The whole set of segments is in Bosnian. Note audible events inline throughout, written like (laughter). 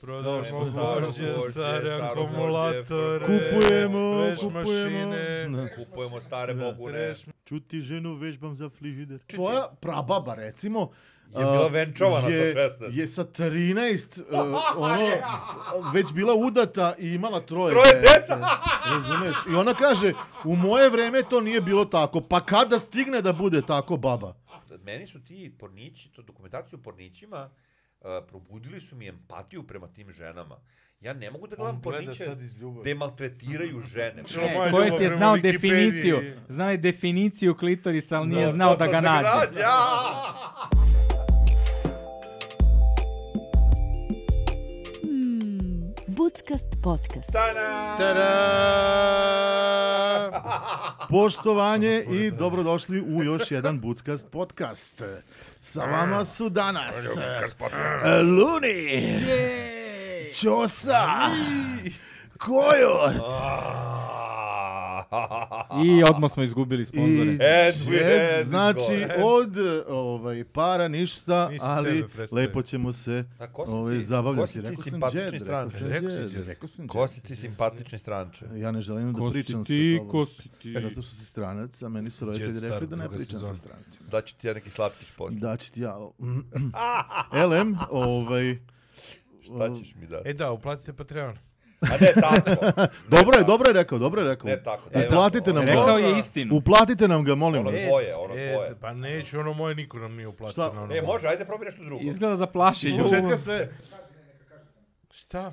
Prodajemo Kao što gvožđe, staro gvožđe, stare staro gvožđe, akumulatore, Kupujemo, veš kupujemo. mašine, Da. Kupujemo stare Da. bogune. treš- Čuti ženu, vežbam za frižider. Tvoja prababa, recimo, Je bila a, venčovana sa je- 16. Je sa 13, uh, ono, već bila udata i imala troje, Troje djece. Razumeš? I ona kaže, u moje vreme to nije bilo tako, pa kada stigne da bude tako baba? Meni su ti pornići, to dokumentaciju o pornićima, uh, probudili su mi empatiju prema tim ženama. Ja ne mogu da gledam On gleda porniće sad iz ljubavi. gde maltretiraju žene. Čelo moja E, Ko je ljubav ti je prema znao Wikipediji. definiciju? Znao je definiciju klitorisa, ali nije To- znao to- da to- ga nađe. aaa! Mm, Budskast podcast. Tada! Tada! Poštovanje i dobrodošli u još jedan Budskast podcast. Sa vama su danas eh, Luni, Ćosa, Kojot I odmah smo izgubili sponzore. i Ed with Jet. Ed is Znači, gone. od eh, ovaj, para ništa, Nisi ali sebe predstavio. lepo ćemo se A ko si ovaj, ti? Ko zabavljati. si ti Rekao sam simpatični Jed, rekao stranac? sam Rekao si Jed, Jed. rekao sam Ko Jed. si ti simpatični stranče? Ja ne želim da Ko si pričam ti, sa tobom. ko si ti? Zato što si stranac, a meni su roditelji Jet Star, rekli da ne druga pričam sezona. sa strancima. Da ću ti ja neki slatkić poslije. Da ću ti ja... LM, ovaj... Šta ćeš mi dati? E da, uplatite Patreon. A ne (laughs) tako. Dobro je, dobro je rekao, dobro je rekao. E, Ne tako. ovaj. daj Uplatite nam nam to. Rekao ga. je istinu. Uplatite nam ga, molim Ono vas. tvoje, ono tvoje. pa neću, ono moje niko nam nije uplatio. Šta? na ono E, moje. može, ajde probaj nešto drugo. Izgleda da plaši Iz ljudi. početka sve. Šta?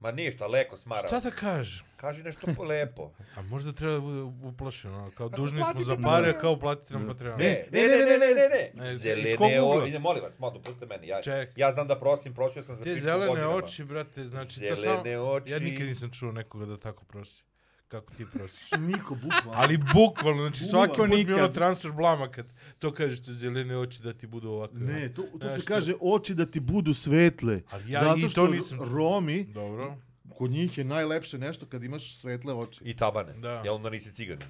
Ma ništa, leko, smara. Šta da kažem? Kaži nešto po- lepo. A možda treba da bude uplašen, ono, kao dužni smo platite za nam pare, ga. kao platite nam Patreon. Ne, E, ne, ne, ne, ne, ne, E, Ne, ne. iz- iz kog Zelene ugla? oči, ne, molim vas, malo, pustite meni. Ja, Ček. ja znam da prosim, prosio sam za Te pičku zelene znači, godinama. oči, brate, znači to samo... Zelene oči. Ja nikad nisam čuo nekoga da tako prosi. Kako ti prosiš. Niko, bukvalno. Ali bukvalno, znači svaki Niko put mi je ono nikad. transfer blama kad to kažeš te zelene oči da ti budu ovakve. Ne, to, to Znaš se šta? kaže oči da ti budu svetle. Ali ja i Zato to što nisam čuo. Romi, Dobro. kod njih je najlepše nešto kad imaš svetle oči. I tabane. Da. Jel onda nisi ciganin?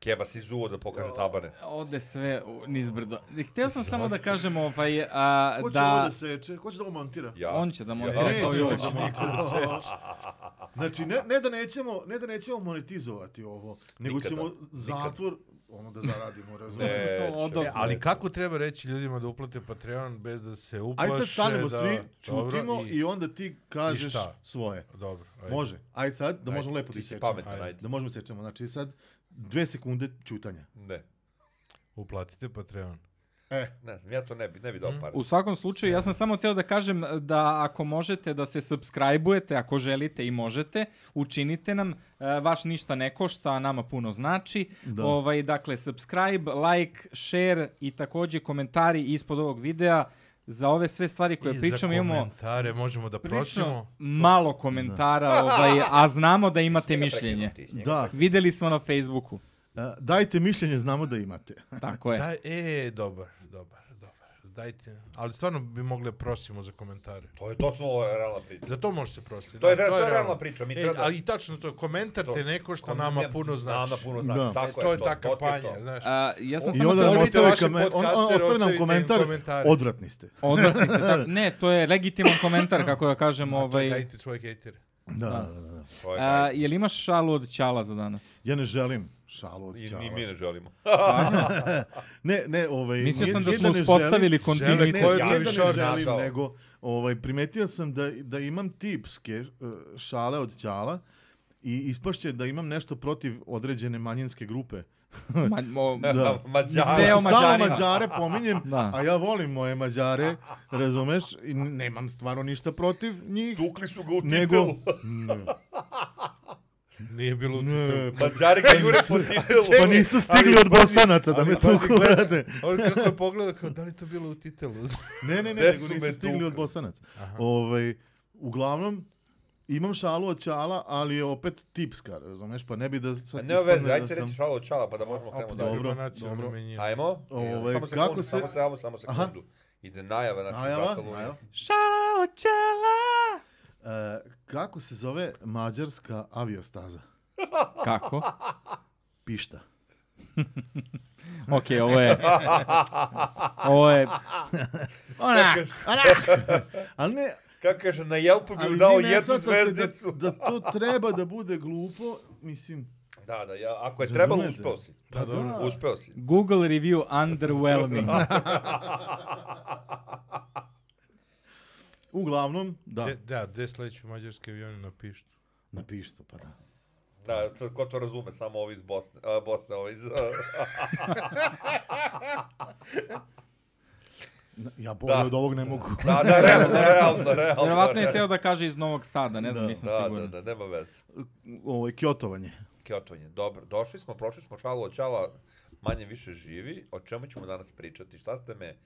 Keba si zuo da pokaže tabane. Ode sve u- nizbrdo. Htio sam samo da kažem ovaj, a, Ko će ovo da... da seče? Ko će da ovo montira? Ja. On će da montira Ja. to i Nećemo ovo da će. niko da seče. (laughs) Znači, ne, ne, da nećemo, ne da nećemo monetizovati ovo, nego Nikada. ćemo Nikada. E, zatvor ono da zaradimo, (laughs) razumiješ? Neće. Odozgo. E, Ali kako treba reći ljudima da uplate Patreon bez da se uplaše? Ajde sad stanemo da... svi, Dobro, čutimo i, onda ti kažeš šta? svoje. Dobro. ajde. Može. Ajde sad, da možemo lepo da Ti si isečemo. pametan, Ajde. ajde. Da možemo sečemo. Znači sad, dve sekunde čutanja. Ne. Uplatite Patreon. Ne znam, ja to ne bi, ne bi Mhm. dao pare. U svakom slučaju, ja sam samo teo da kažem da ako možete da se subscribe-ujete, ako želite i možete, učinite nam, e, vaš ništa ne košta, a nama puno znači. Da. Ovaj, dakle, subscribe, like, share i takođe komentari ispod ovog videa. Za ove sve stvari koje I pričamo za imamo komentare možemo da prilično prosimo. malo komentara, ovaj, a znamo da imate mišljenje. Da, Videli smo na Facebooku, a, dajte mišljenje, znamo da imate. tako je. Da, e, dobar, dobar, dobar. Dajte, ali stvarno bi mogli da prosimo za komentare. To je točno ovo je realna priča. Za to može se prositi. To je, da, re- to je realna realno. priča. Mi E, treba da- ali i tačno to, komentar To- te neko što Kom- nama ne- puno znači. Nama puno znači, Da. tako E, to je to, ta to ti je kampanja, to. znaš. A, ja sam I samo onda teo nam volite ostavi, vaše kamen- on, on, podcastere, ostavi nam ostavite im komentar, komentare. odvratni ste. Odvratni ste, tako. Ne, to je legitiman komentar, kako da kažem, ovaj... Dajte svoje hejtere. Da, da, da, da. To je A, gaj. jel imaš šalu od Ćala za (laughs) danas? Ja ne želim šalu od I Ćala. ni mi ne želimo. Ne, ne, ovaj... Mislio nije- sam da nije smo ne uspostavili želim- žele kontinuitet. koje- Ne, ja Ja ne sam da ne našao. želim, nego ovaj, primetio sam da, da imam tipske eh, šale od Ćala i ispašće da imam nešto protiv određene manjinske grupe. Ma, mo, Da. (laughs) Mađari. Sve Pošto o Stalno Mađarima. Mađare pominjem, Da. a ja volim moje Mađare, razumeš? I n- nemam stvarno ništa protiv njih. Tukli su ga u Nego, titelu. ne, Nije bilo... ne, pa, Mađari ga jure po titelu. pa nisu stigli od bosanaca da me tuku, brate. On kako je pogledao, kao da li to bilo u (laughs) titelu? Ne, ne, ne, Gde nego su nisu me stigli tukli? od bosanaca. Ovaj, uglavnom, imam šalu od čala, ali je opet tipska, razumeš? Pa ne bi da Pa sad Nema veze, ispadne ajte da reći šalo od čala pa da možemo krenemo dobro, dalje. Dobro, dobro. dobro. Menjina. Ajmo. Ovaj, samo sekundu, kako se- Samo, samo, samo Aha. sekundu. Ide najava našeg Najava, brata Lune. najava. Šala od Ćala! E, kako se zove mađarska aviostaza? Kako? Pišta. Ok, ovo (laughs) je... Ovo je... Onak, onak. Ali ne, Kako kaže, na Jelpu Pa bi mu Ali dao vi ne jednu shvatate zvezdicu. Da, da to treba da bude glupo, mislim... Da, da, ja, ako je trebalo, Razumete? uspeo si. Pa dobro. da. Uspeo si. Google review (laughs) underwhelming. Uglavnom, da. De, da, gde sleću mađarske avione na pištu? Napiši to, pa da. Da, to, ko to razume, samo ovi iz Bosne, a, (laughs) Bosne, ovi iz... Na- Ja bolje Da. od ovog ne mogu. da, da, realno, realno, realno. Vjerovatno je realno. teo da kaže iz Novog Sada, ne znam, nisam Da, da, siguran. da, nema veze. Ovo je kjotovanje. Kjotovanje, dobro. Došli smo, prošli smo šalu od čala manje više živi. O čemu ćemo danas pričati? Šta ste me,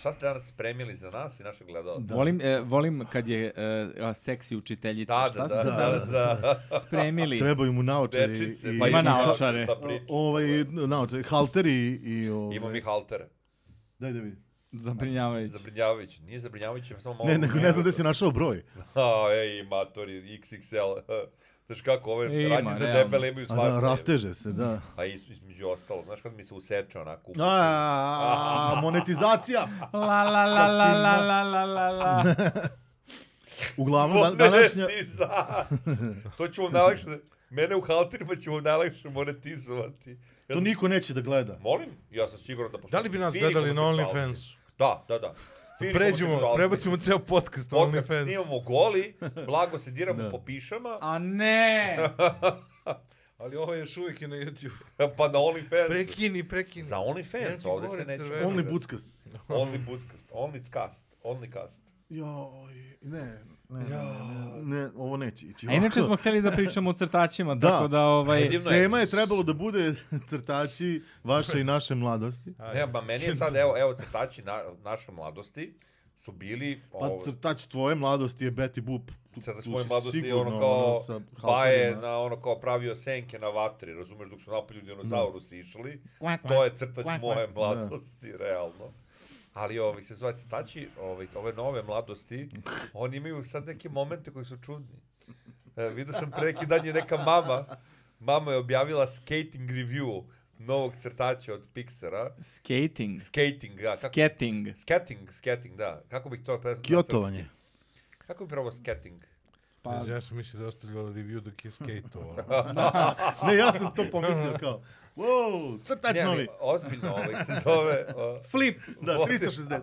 šta ste danas spremili za nas i naše gledalce? Volim, e, volim kad je e, a, seksi učiteljica, Da, da, šta da, ste da, da, danas da. spremili? Trebaju mu naočare. i- Dečice, i- pa Ima i naočare. šta priča. Ovaj, naočare, halteri i... i ovaj. Imam i haltere. Daj da vidim. Zabrinjavajući. Zabrinjavajući. Nije zabrinjavajući, samo malo... Ne, nego ne znam da si našao broj. A, e, ej, matori, XXL. (laughs) Znaš kako, ove Ima, radnje za realno. debele imaju A svašta. da, rasteže se, (laughs) da. A i između ostalo, znaš kad mi se useče onako. u- A, monetizacija! La la la la la la la la la. Uglavnom, (laughs) dan, današnja... Monetiza! (laughs) to ćemo najlakše, mene u halterima ćemo najlakše monetizovati. Ja To sam- niko neće da gleda. Molim, ja sam siguran da postoji. Da li bi nas Fini gledali na homoseksualci. OnlyFansu? Da, da, da. Fini Pređemo, homoseksualci. prebacimo ceo podcast na Podcast OnlyFans. snimamo goli, blago se diramo po pišama, A (laughs) ne! Ali ovo je još uvijek na YouTube. pa na OnlyFans. Prekini, prekini. Za Ja OnlyFans, ti ovdje se govorim, neće. crveno. Only Buckast. Only Buckast, Only Cast, Only Cast. Joj, ne, ne, ne, ne, ne, ovo neće ići. A inače smo Ovako, htjeli da pričamo o crtačima, Da. tako da ovaj... Predivno Tema je trebalo da bude (laughs) crtači vaše i naše mladosti. Ne, ba meni je (laughs) sad, evo, evo crtači na, naše mladosti su bili... Pa ovo, crtač tvoje mladosti je Betty Boop. Tu- crtač tu moje si mladosti je sigurno, znači, ono kao sa baje halterima. na ono kao pravio senke na vatri, razumeš, dok su napolju dinosaurusi išli. To je crtač moje mladosti, realno. Ali ovi se zove crtači, ovi, ove nove (laughs) mladosti, oni imaju sad neke momente koji su čudni. E, vidio sam preki dan je neka mama, mama je objavila skating review novog crtača od Pixara. Skating. Skating, da, kako Skating. Skating, skating, da. Kako bih to prezvao? Kjotovanje. Kako bih prvo skating? Pa, Ja sam mislio da je ostavljala review dok je ono. (laughs) skejtovao. Ne, ja sam to pomislio kao, wow, crtač Ne, ali Znači, novi. Ozbiljno ovaj se zove... Uh, flip! Da, 360. (laughs)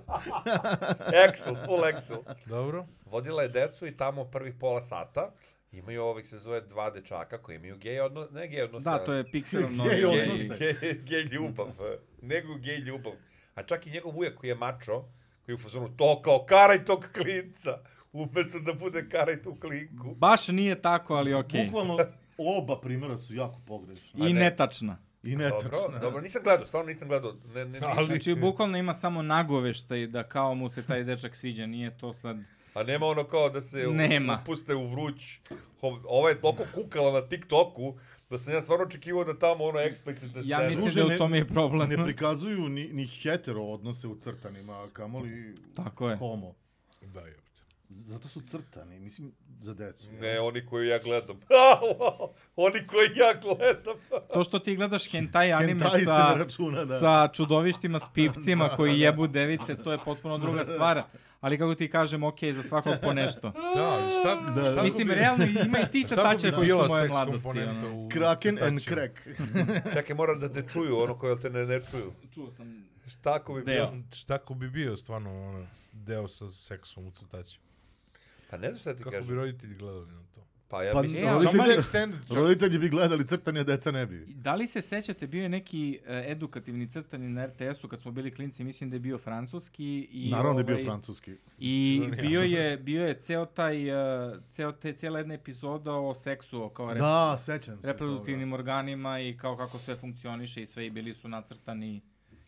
Excel, full Excel. Dobro. Vodila je decu i tamo prvih pola sata imaju ovih se zove dva dečaka koji imaju gej odnos, ne gej odnos. Da, to je Pixarov novi. Gej gej, Gej. odnose. (laughs) gej, gej ljubav. eh, Nego gej ljubav. A čak i njegov ujak koji je mačo, koji je u fazonu to kao karaj tog klinca, umjesto da bude karaj tu klinku. Baš nije tako, ali okej. Bukvalno oba primjera su jako pogrešna. A I ne. netačna. I Dobro, netačna. dobro, nisam gledao, stvarno nisam gledao. Ne, ne, ne, Ali- Znači, bukvalno ima samo nagoveštaj da kao mu se taj dečak sviđa, nije to sad... A nema ono kao da se Nema. nema. puste u vruć. Ho- Ova je toliko kukala na TikToku da sam ja stvarno očekivao da tamo ono eksplicitne scene. Ja mislim Druže, da u ne- tome je problem. Ne prikazuju ni, ni hetero odnose u crtanima, a kamoli Tako je. homo. Da, jebote. Zato su crtani, mislim, za decu. Ne, oni koji ja gledam. (laughs) oni koji ja gledam. To što ti gledaš hentai anime Hentai se sa, ne računa, da. sa čudovištima, s pipcima koji jebu device, to je potpuno druga stvar. Ali kako ti kažem, okej, za svakog po nešto. Da, ali šta, Da, šta da. bi- Mislim, realno ima i ti šta bi crtače koji bila su moje seks mladosti. komponenta ono. u Kraken and crtačima? crack. Čekaj, moram da te čuju, ono koji te ne, ne čuju. Čuo sam. Šta ako bi Deo. bio? Šta ko bi bio stvarno ono, deo sa seksom u crtačima? Pa ne znam šta ti Kako bi kažem. roditelji gledali na to? Pa ja Pa, mislim... E, ali- Samo roditelji, je extended čak. roditelji bi gledali crtanje, a deca ne bi. Da li se sećate, bio je neki e, edukativni crtani na RTS-u kad smo bili klinci, mislim da je bio francuski. I, Naravno da je bio ovaj, francuski. I Sigurno ja. bio je, bio je ceo taj, e, ceo te, cijela jedna epizoda o seksu, o kao rep, Da, sećam se reproduktivnim organima i kao kako sve funkcioniše i sve i bili su nacrtani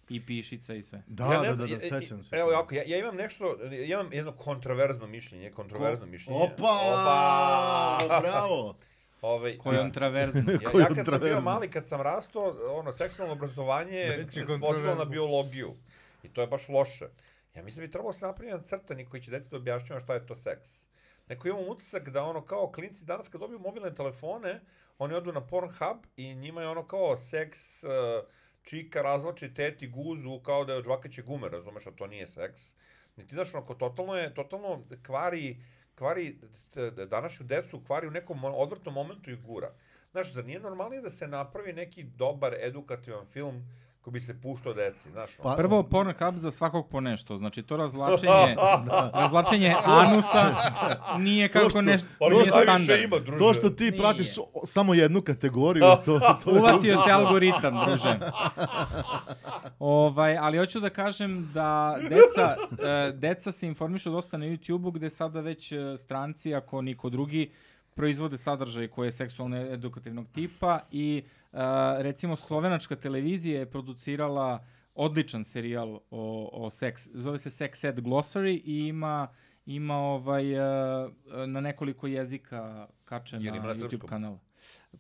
i pišica i sve. toga. Da, ja da, ne da, znam, da, i- i- sećam se. Evo, toga. jako, ja, ja imam nešto, ja imam jedno kontroverzno mišljenje, kontroverzno mišljenje. Opa! Opa! Bravo! Ovaj, Kojom (laughs) traverzno. Ja, Koji ja kad sam bio kontroverzno. mali, kad sam rastao, ono, seksualno obrazovanje Već je se svodilo na kontroverzno. biologiju. I to je baš loše. Ja mislim da bi trebalo da se napravi jedan crtani koji će deci da objašnjava šta je to seks. Neko imam utisak da ono kao klinci danas kad dobiju mobilne telefone, oni odu na Pornhub i njima je ono kao seks, uh, čika razlači teti guzu kao da je od žvakaće gume, razumeš, a to nije seks. Niti znaš, onako, totalno je, totalno kvari kvari t- t- današnju decu, kvari u nekom mo- odvrtnom momentu i gura. Znaš, zar nije normalnije da se napravi neki dobar edukativan film koji bi se puštao deci, znaš? ono? Pa- Prvo Pornhub za svakog po nešto, znači (laughs) to razvlačenje, razvlačenje anusa nije To što- kako nešto, Ali nije šta više standard. ima, druže? To što ti Nije. pratiš o- samo jednu (laughs) kategoriju, to, to je... Uvatio te algoritam, druže. Ovaj, ali hoću da kažem da deca, e, deca se informišu dosta na YouTube-u gde sada već e, stranci, ako niko drugi, proizvode sadržaj koje je seksualno edukativnog tipa i e, recimo slovenačka televizija je producirala odličan serijal o, o seks, zove se Sex Ed Glossary i ima ima ovaj e, e, na nekoliko jezika kačen na, Jel ima na YouTube srpskom? kanal.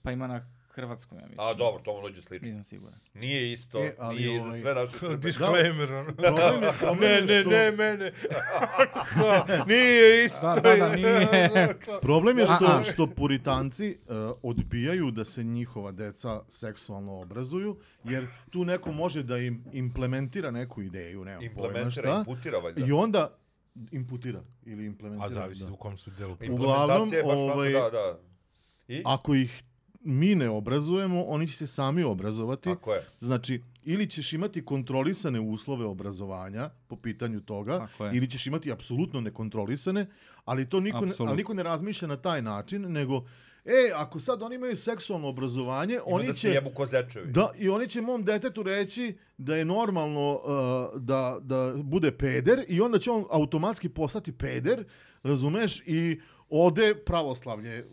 Pa ima na hrvatskom, ja mislim. A dobro, to mu dođe slično. Nisam (laughs) siguran. Nije isto, E, ali nije za ovaj- sve (laughs) naše Srbe. Disclaimer, ono. Problem je, problem Ne, je ne, što- ne, mene. Da, nije isto. Da, da, da, (laughs) nije. Problem je što, Aha. što puritanci uh, odbijaju da se njihova deca seksualno obrazuju, jer tu neko može da im implementira neku ideju, nema pojma Implementira, šta, imputira valjda. i onda imputira ili implementira. A zavisi da. u kom su delu. Uglavnom, Implementacija je baš ovaj- onako, da, da. I? Ako ih mi ne obrazujemo, oni će se sami obrazovati. Tako je. Znači, ili ćeš imati kontrolisane uslove obrazovanja po pitanju toga, Tako je. ili ćeš imati apsolutno nekontrolisane, ali to niko ne, Apsolutno. ali niko ne razmišlja na taj način, nego, e, ako sad oni imaju seksualno obrazovanje, Oni oni da se će... jebu ko zečevi. Da, i oni će mom detetu reći da je normalno uh, da, da bude peder i onda će on automatski postati peder, razumeš, i ode (laughs) pravoslavlje.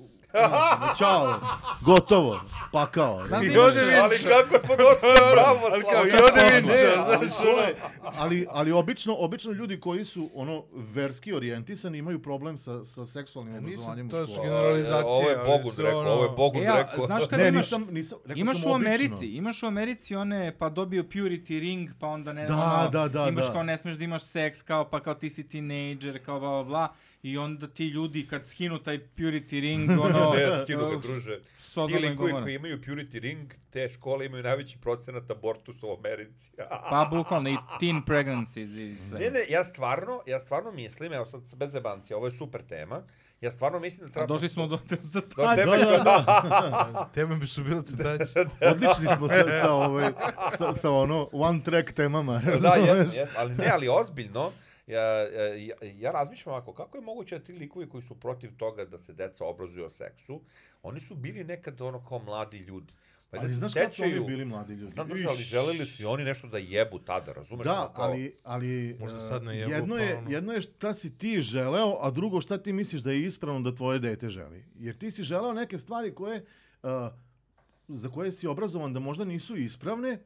Znaš, ono, Ćao, gotovo, pa pakao. Znaš, I ovdje Ali vidiš. kako smo (laughs) došli do pravoslava? I ovdje vidiš. Ne, ono, ali, znaš, to je- ali, ali obično, obično ljudi koji su ono verski orijentisani imaju problem sa, sa seksualnim obrazovanjem Nisam, to u su školi. generalizacije. Ovo je ali Bogun su rekao, ono- ovo je Bogun E, a, rekao. (laughs) znaš kad Ne, imaš, nisam, nisam, rekao imaš sam u obično. Americi, imaš u Americi one, pa dobio purity ring, pa onda ne, Da, ono, da, da, imaš da. kao ne smeš da imaš seks, kao pa kao ti si teenager, kao bla, bla, bla, i onda ti ljudi kad skinu taj purity (laughs) ring, ono, Ne, skinu ga, uh, druže. Ti Sodoma i likovi Gomora. koji imaju Purity Ring, te škole imaju najveći procenat abortusa u Americi. (laughs) Pa bukvalno i teen pregnancies i sve. Ne, ne, ja stvarno, ja stvarno mislim, evo sad bez zebancija, ovo je super tema, ja stvarno mislim da A treba... došli smo do, do, Do do, tebe, Da, da, da. Teme bi su bile (laughs) citaći. Odlični smo sa, sa, ovaj, sa, sa ono one track temama. (laughs) da, razumeš? jes, jes, ali ne, ali ozbiljno, ja, ja, ja razmišljam ovako, kako je moguće da ti likovi koji su protiv toga da se deca obrazuju o seksu, oni su bili nekad ono kao mladi ljudi. Pa Ali znaš kako su oni bili mladi ljudi? Znam duže, ali Iš. želeli su i oni nešto da jebu tada, razumeš? Da, Ono kao- ali, ali Možda e, sad ne jebu, jedno, pa je, ono. jedno je šta si ti želeo, a drugo šta ti misliš da je ispravno da tvoje dete želi. Jer ti si želeo neke stvari koje, e, za koje si obrazovan da možda nisu ispravne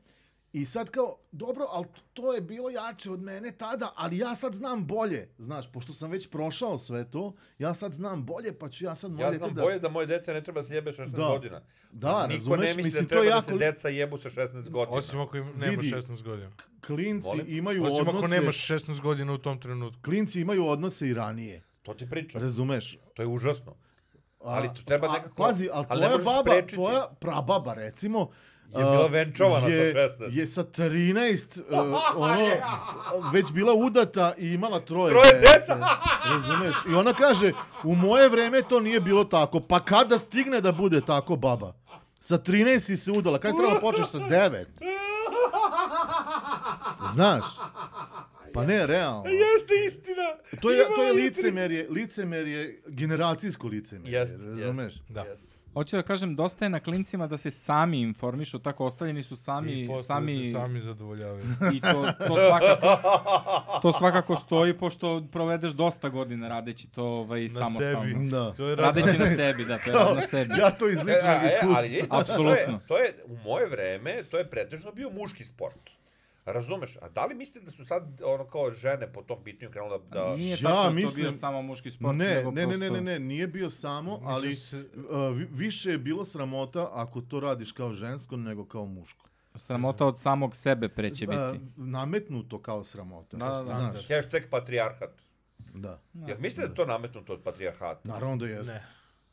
i sad kao, dobro, ali to je bilo jače od mene tada, ali ja sad znam bolje. Znaš, pošto sam već prošao sve to, ja sad znam bolje, pa ću ja sad moje Ja dete znam da... bolje da moje dete ne treba se jebe 16 Da. godina. Da, Niko razumeš, ne misli mislim, da to je treba da jako... se deca jebu sa 16 godina. Osim ako im nema Vidi. 16 godina. Klinci Molim? imaju Osim odnose... ako nemaš 16 godina u tom trenutku. Klinci imaju odnose i ranije. To ti pričam. Razumeš? To je užasno. Ali to treba nekako- Pazi, ali ali ne tvoja možeš baba, sprečiti. tvoja prababa, recimo... Je bila a, venčovana sa je, 16. Je sa 13, uh, ono, već bila udata i imala troje, Troje dece. (laughs) Razumeš? I ona kaže, u moje vreme to nije bilo tako. Pa kada stigne da bude tako, baba? Sa 13 si se udala. Kada si trebala počeš sa 9? Znaš? Pa ne, realno. Jeste istina! To je, to je licemerje, licemerje, generacijsko licemerje, Jeste, razumeš? Da. Jeste. Hoću da kažem, dosta je na klincima da se sami informišu, tako ostavljeni su sami, I posle da sami, se sami zadovoljavaju. i to, to, svakako, to svakako stoji pošto provedeš dosta godina radeći to ovaj, Na samostalno. E, sebi. Da. To je rad... Radeći na sebi, da, to je rad na sebi. (laughs) Ja to iz ličnog E, a, iskustva. ali vidite, Apsolutno. To je, to je, u moje vreme, to je pretežno bio muški sport. Razumeš? A da li mislite da su sad, ono, kao žene po tom pitanju krenula da... da... Nije Ja tačno da to mislim- bio samo muški sport, Ne, nego ne, ne, prosto... ne, ne, ne, nije bio samo, ali se- a, vi- više je bilo sramota ako to radiš kao žensko nego kao muško. Sramota od samog sebe preće A, biti. nametnuto kao sramota. Da, da, da. Znaš, Hashtag patrijarhat. da. Jel mislite da je to nametnuto od patrijarhata? Naravno da jeste. Ne.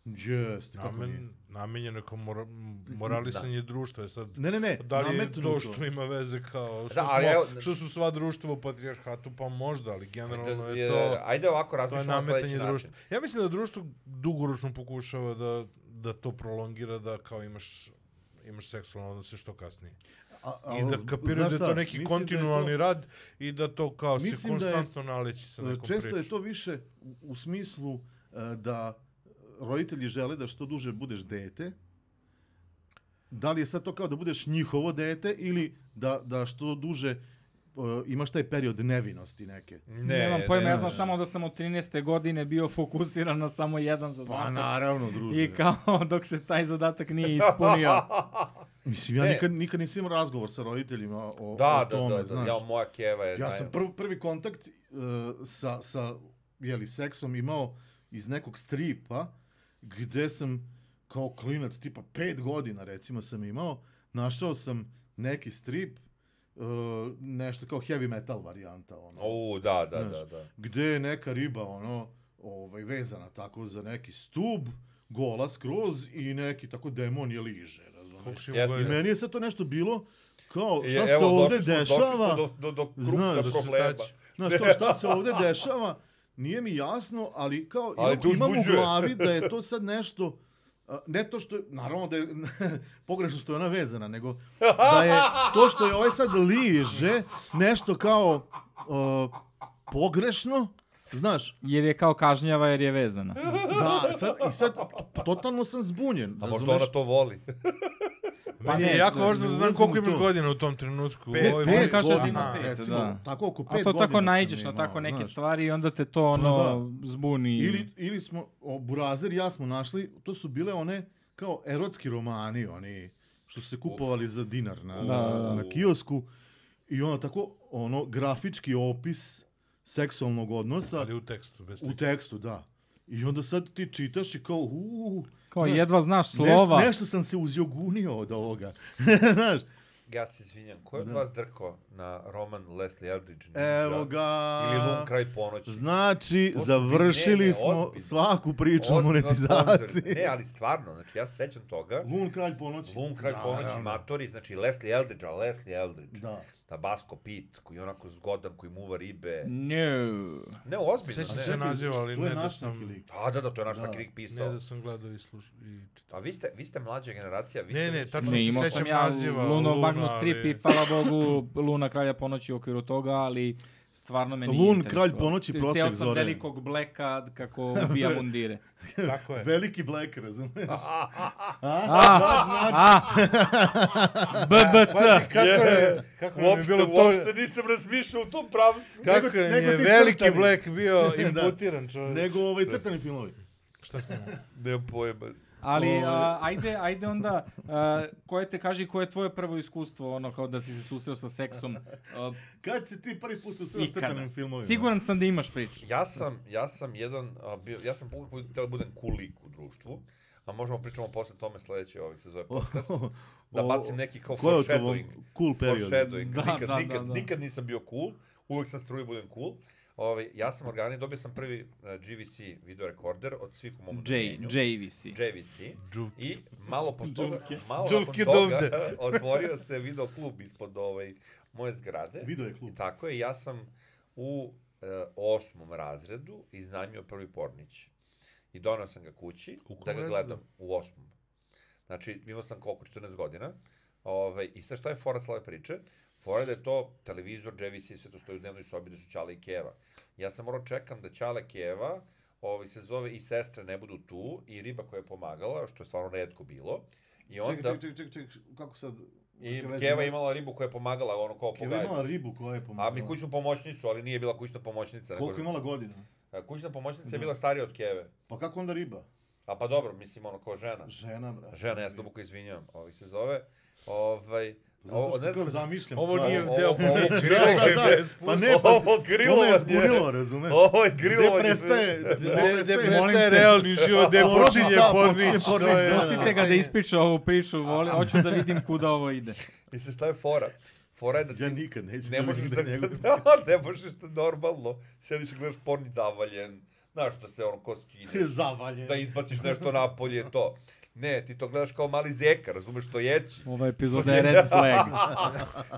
Jeste, kako nije. Namen, namenjeno je kao mora, moralisanje društva. Je sad, Ne, ne, ne, Pa da li je nametnuto. to što ima veze kao što, Da, da, ali smo, evo- što su sva društva u patrijarhatu, pa možda, ali ono generalno Ajde, je to... ajde ovako To je razmišljamo na sledeći nametanje način. društva. Ja mislim da društvo dugoročno pokušava da, da to prolongira, da kao imaš imaš seksualne odnose što kasnije. A, a, I da znaš kapiraju da je šta, to neki mislim da je kontinualni to- rad i da to kao se Mislim da je- e, konstantno naleći sa nekom Često je pričom. to više u- u smislu e, da roditelji žele da što duže budeš dete. Da li je sad to kao da budeš njihovo dete ili da, da što duže e, imaš taj period nevinosti neke? Ne, Nemam pojma, ne, ja ne. znam samo da sam od 13. godine bio fokusiran na samo jedan Pa Pa zadatak. naravno, druže. I kao (laughs) dok se taj zadatak nije (laughs) ispunio. Mislim, ja Ne. nikad, nikad nisam imao razgovor sa roditeljima o, Da, o da, tome, da, da, znaš. ja, moja keva je... Ja taj- sam prv, prvi kontakt uh, sa, sa jeli, seksom imao iz nekog stripa gde sam kao klinac tipa pet godina recimo sam imao, našao sam neki strip, uh, nešto kao heavy metal varijanta ono, U, da, da, Znaš. da, da. gde je neka riba ono, ovaj, vezana tako za neki stub, gola skroz i neki tako demon je liže, razumiješ? Koliko Jeste. ima I godina? meni je sad to nešto bilo kao E, šta evo, se ovdje došli smo- dešava? Došli smo do, do, do Znaš, krupca da se problema. tači. Znaš, kao šta se ovdje dešava, nije mi jasno, ali kao Ali imam, te imam u uzbuđuje. glavi da je to sad nešto, a, ne to što je, naravno da je (laughs) pogrešno što je ona vezana, nego da je to što je ovaj sad liže nešto kao o, pogrešno, znaš, Jer je kao kažnjava jer je vezana. da, sad, i sad totalno sam zbunjen, A možda razumeš? ona to voli. Pa Meni je ne, jako ne, važno ne da znam ulazim koliko u imaš to. godina u tom trenutku. Pet- Ovo je pet meni- kaže da ima godina, pet, recimo, da. tako oko pet A to tako godina sam naiđeš na imao, tako neke znaš. Pa stvari i onda te to ono zbuni. Ili, ili smo, o, Burazer i ja smo našli, to su bile one kao erotski romani, oni što su se kupovali za dinar na, Da, da. na, na kiosku. I ono tako, ono, grafički opis seksualnog odnosa Ali u tekstu, bez u slike. tekstu, da. I onda sad ti čitaš i kao, uuu, Kao znaš, jedva znaš nešto, slova. nešto sam se uzjogunio od ovoga. (laughs) Znaš, Ja se izvinjam, ko je od Da. vas drkao na roman Leslie Eldridge? Ninja? evo ga. Ili Lum kraj ponoći? Znači, Ozbiljno, ne, završili ne, smo ozbiljno. svaku priču o Ozbiljno monetizaciji. sponzor. Ne, ali stvarno, znači ja se sećam toga. Lun kralj ponoći. Znači, Lum kraj Da, ponoći, naravno. Matori, znači Leslie Eldridge, a Leslie Eldridge. Da. Tabasco Pete, koji je onako zgodan, koji muva ribe. No. Ne, ozbiljno, Sećam ne. se naziva, ali To je ne da naš sam... neki lik. A da, da, to je naš Da. nakrik Ne pisao. da sam gledao i slušao i čitao. A vi ste, vi ste mlađa generacija, vi Ne, ste... ne, tačno Ne, se imao sam sećam ja naziva. Luno Luna, Magnus Trip ali- i hvala Bogu Luna Kralja ponoći u okviru toga, ali stvarno me nije Lun interesovalo. Kralj ponoći, Te- prosjek Teo sam zore. velikog bleka kako ubija mundire. (laughs) Tako je. Veliki black, razumeš? A, a, BBC. Kako je, kako je mi Uopšte, bilo to... uopšte nisam razmišljao u tom pravcu. Kako je, nego mi je ti veliki crtani. Black (laughs) bio Da. imputiran čovjek. (laughs) Nego ovaj crtani filmovi. Šta sam Nemam pojma. Ali Ovaj. a, ajde, ajde onda, a, koje te kaži koje je tvoje prvo iskustvo, ono kao da si se susreo sa seksom. A, Kad si ti prvi put susreo s ikada. crtanim filmovima? (laughs) Siguran sam da imaš priču. Ja sam, ja sam jedan, a, bio, ja sam uvijek htio da budem cool lik u društvu, a možemo pričamo posle tome sledeće ovih se zove podcast. Da o, bacim neki kao Ko je u tvom foreshadowing. cool period? Foreshadowing. Da, nikad, da, nikad, da, da. nikad nisam bio cool, uvijek sam struju budem cool. Ove, ja sam organi, dobio sam prvi e, GVC video rekorder od svih u mom J, odeljenju. JVC. JVC. Đuvke. I malo po toga, malo Đuvke nakon toga dovde. (laughs) otvorio se video klub ispod ovaj, moje zgrade. Video je klub. I tako je, ja sam u e, osmom razredu iznajmio prvi pornić. I donao sam ga kući U kom da ga razredu? gledam u osmom. Znači, imao sam koliko, 14 godina. Ove, I sad šta je fora slave priče? Fora je da je to televizor, JVC, sve to stoji u dnevnoj sobi, da su Ćale i Keva. Ja sam morao čekam da Ćale Keva, ovaj, se zove i sestre ne budu tu, i riba koja je pomagala, što je stvarno redko bilo. I onda... Čekaj, čekaj, čekaj, čekaj, čekaj, kako sad? I kakve veze Keva ima? imala ribu koja je pomagala, ono kao Keva je pogajala. imala ribu koja je pomogla. A mi kućnu pomoćnicu, ali nije bila kućna pomoćnica. nego- Koliko je imala godina? E, Kućna pomoćnica je bila starija od Keve. Pa kako onda riba? A pa dobro, mislim, ono, kao žena. Žena, brate. Žena, ja se duboko izvinjam, ovaj se zove. Ovaj, Zato što kao zamišljam Ovo stvari. nije Ovo- deo ovo- priče. da, da, čekaj, da. bre, spusti. Pa ne, pa Ovo Ovo me je grilovanje. zbunilo, razumeš? Ovo je Gde grilovanje. prestaje? Gde- Gde molim prestaje te. realni život, gde Porodica, počinje počinje pornić. to pornić, je- da. Pustite ga da ispriča ovu priču, voli, hoću da vidim kuda ovo ide. Mislim, šta je fora? Fora je da ti Ja nikad neću ne možeš da, (laughs) Да, njegov... da, ne možeš da normalno sediš i gledaš pornić zavaljen, Znaš da se ono (laughs) ko skineš, Zavalje. da izbaciš nešto napolje, to. Ne, ti to gledaš kao mali zeka, razumeš što jeći. Ova epizoda je red flag.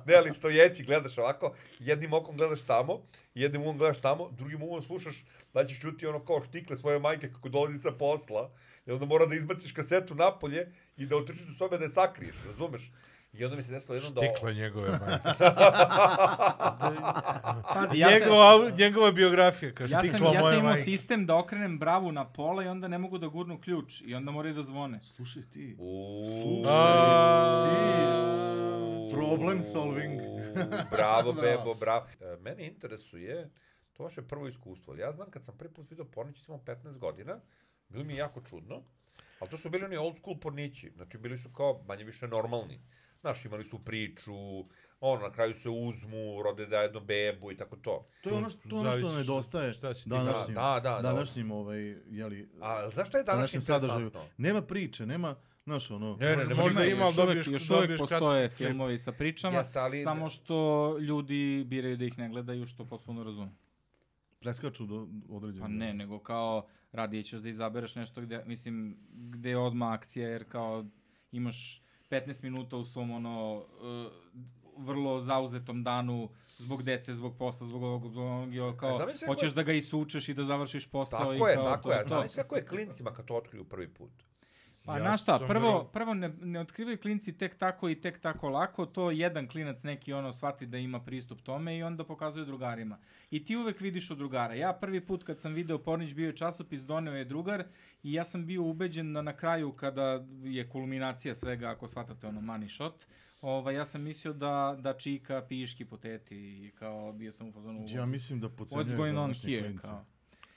ne, ali stojeći gledaš ovako, jednim okom gledaš tamo, jednim umom gledaš tamo, drugim umom slušaš da ćeš čuti ono kao štikle svoje majke kako dolazi sa posla, i onda mora da izbaciš kasetu napolje i da otrčiš u sobe da je sakriješ, razumeš? I onda mi se desilo jedno da... Tikle njegove majke. Pazi, ja sam, Njegova, njegova biografija, kaže, ja sam, tikla ja sam moje imao majke. sistem da okrenem bravu na pola i onda ne mogu da gurnu ključ i onda moraju da zvone. Slušaj ti. Uuu, Ti. Problem solving. (laughs) bravo, Bravo. bebo, bravo. E, Mene interesuje to vaše prvo iskustvo. ali Ja znam kad sam prvi put vidio pornići sam imao 15 godina, bilo mi je jako čudno, ali to su bili oni old school pornići. Znači bili su kao manje više normalni. Znaš, imali su priču, ono, na kraju se uzmu, rode da jedno bebu i tako to. To je ono što, to je ono Zavisi što šta- nedostaje šta si ti- današnjim, Da, da, da, da. današnjim ovaj, jeli, A znaš šta je danas današnjim sadržaju. interesantno? Nema priče, nema, znaš ono, Ne, ne, Možda- nema možda ništa. ima, ali još uvek, dobiješ- još dobiješ uvek kratak postoje klip. filmovi sa pričama, Jeste, ali- samo što ljudi biraju da ih ne gledaju, što potpuno razumem. preskaču do određenog. Pa ne, nego kao radije ćeš da izabereš nešto gde, mislim, gde je odmah akcija, jer kao imaš 15 minuta u svom ono, uh, vrlo zauzetom danu zbog dece, zbog posla, zbog ovog, zbog onog, i ovo, kao, E, Zamisli ako hoćeš je- da ga isučeš i da završiš posao i Tako kao je, tako to, je. to. Znaš kako je klincima kad to otkriju prvi put? Pa Ja znaš šta, sam prvo, verovao- prvo ne, ne otkrivaju klinci tek tako i tek tako lako, to jedan klinac neki ono shvati da ima pristup tome i onda pokazuje drugarima. I ti uvek vidiš od drugara. Ja prvi put kad sam video Pornić bio je časopis, doneo je drugar i ja sam bio ubeđen da na kraju kada je kulminacija svega, ako shvatate ono money shot, ovaj, ja sam mislio da, da čika piški poteti i kao bio sam u fazonu Ja mislim da what's podcenjuješ going on današnje here, klinice. kao.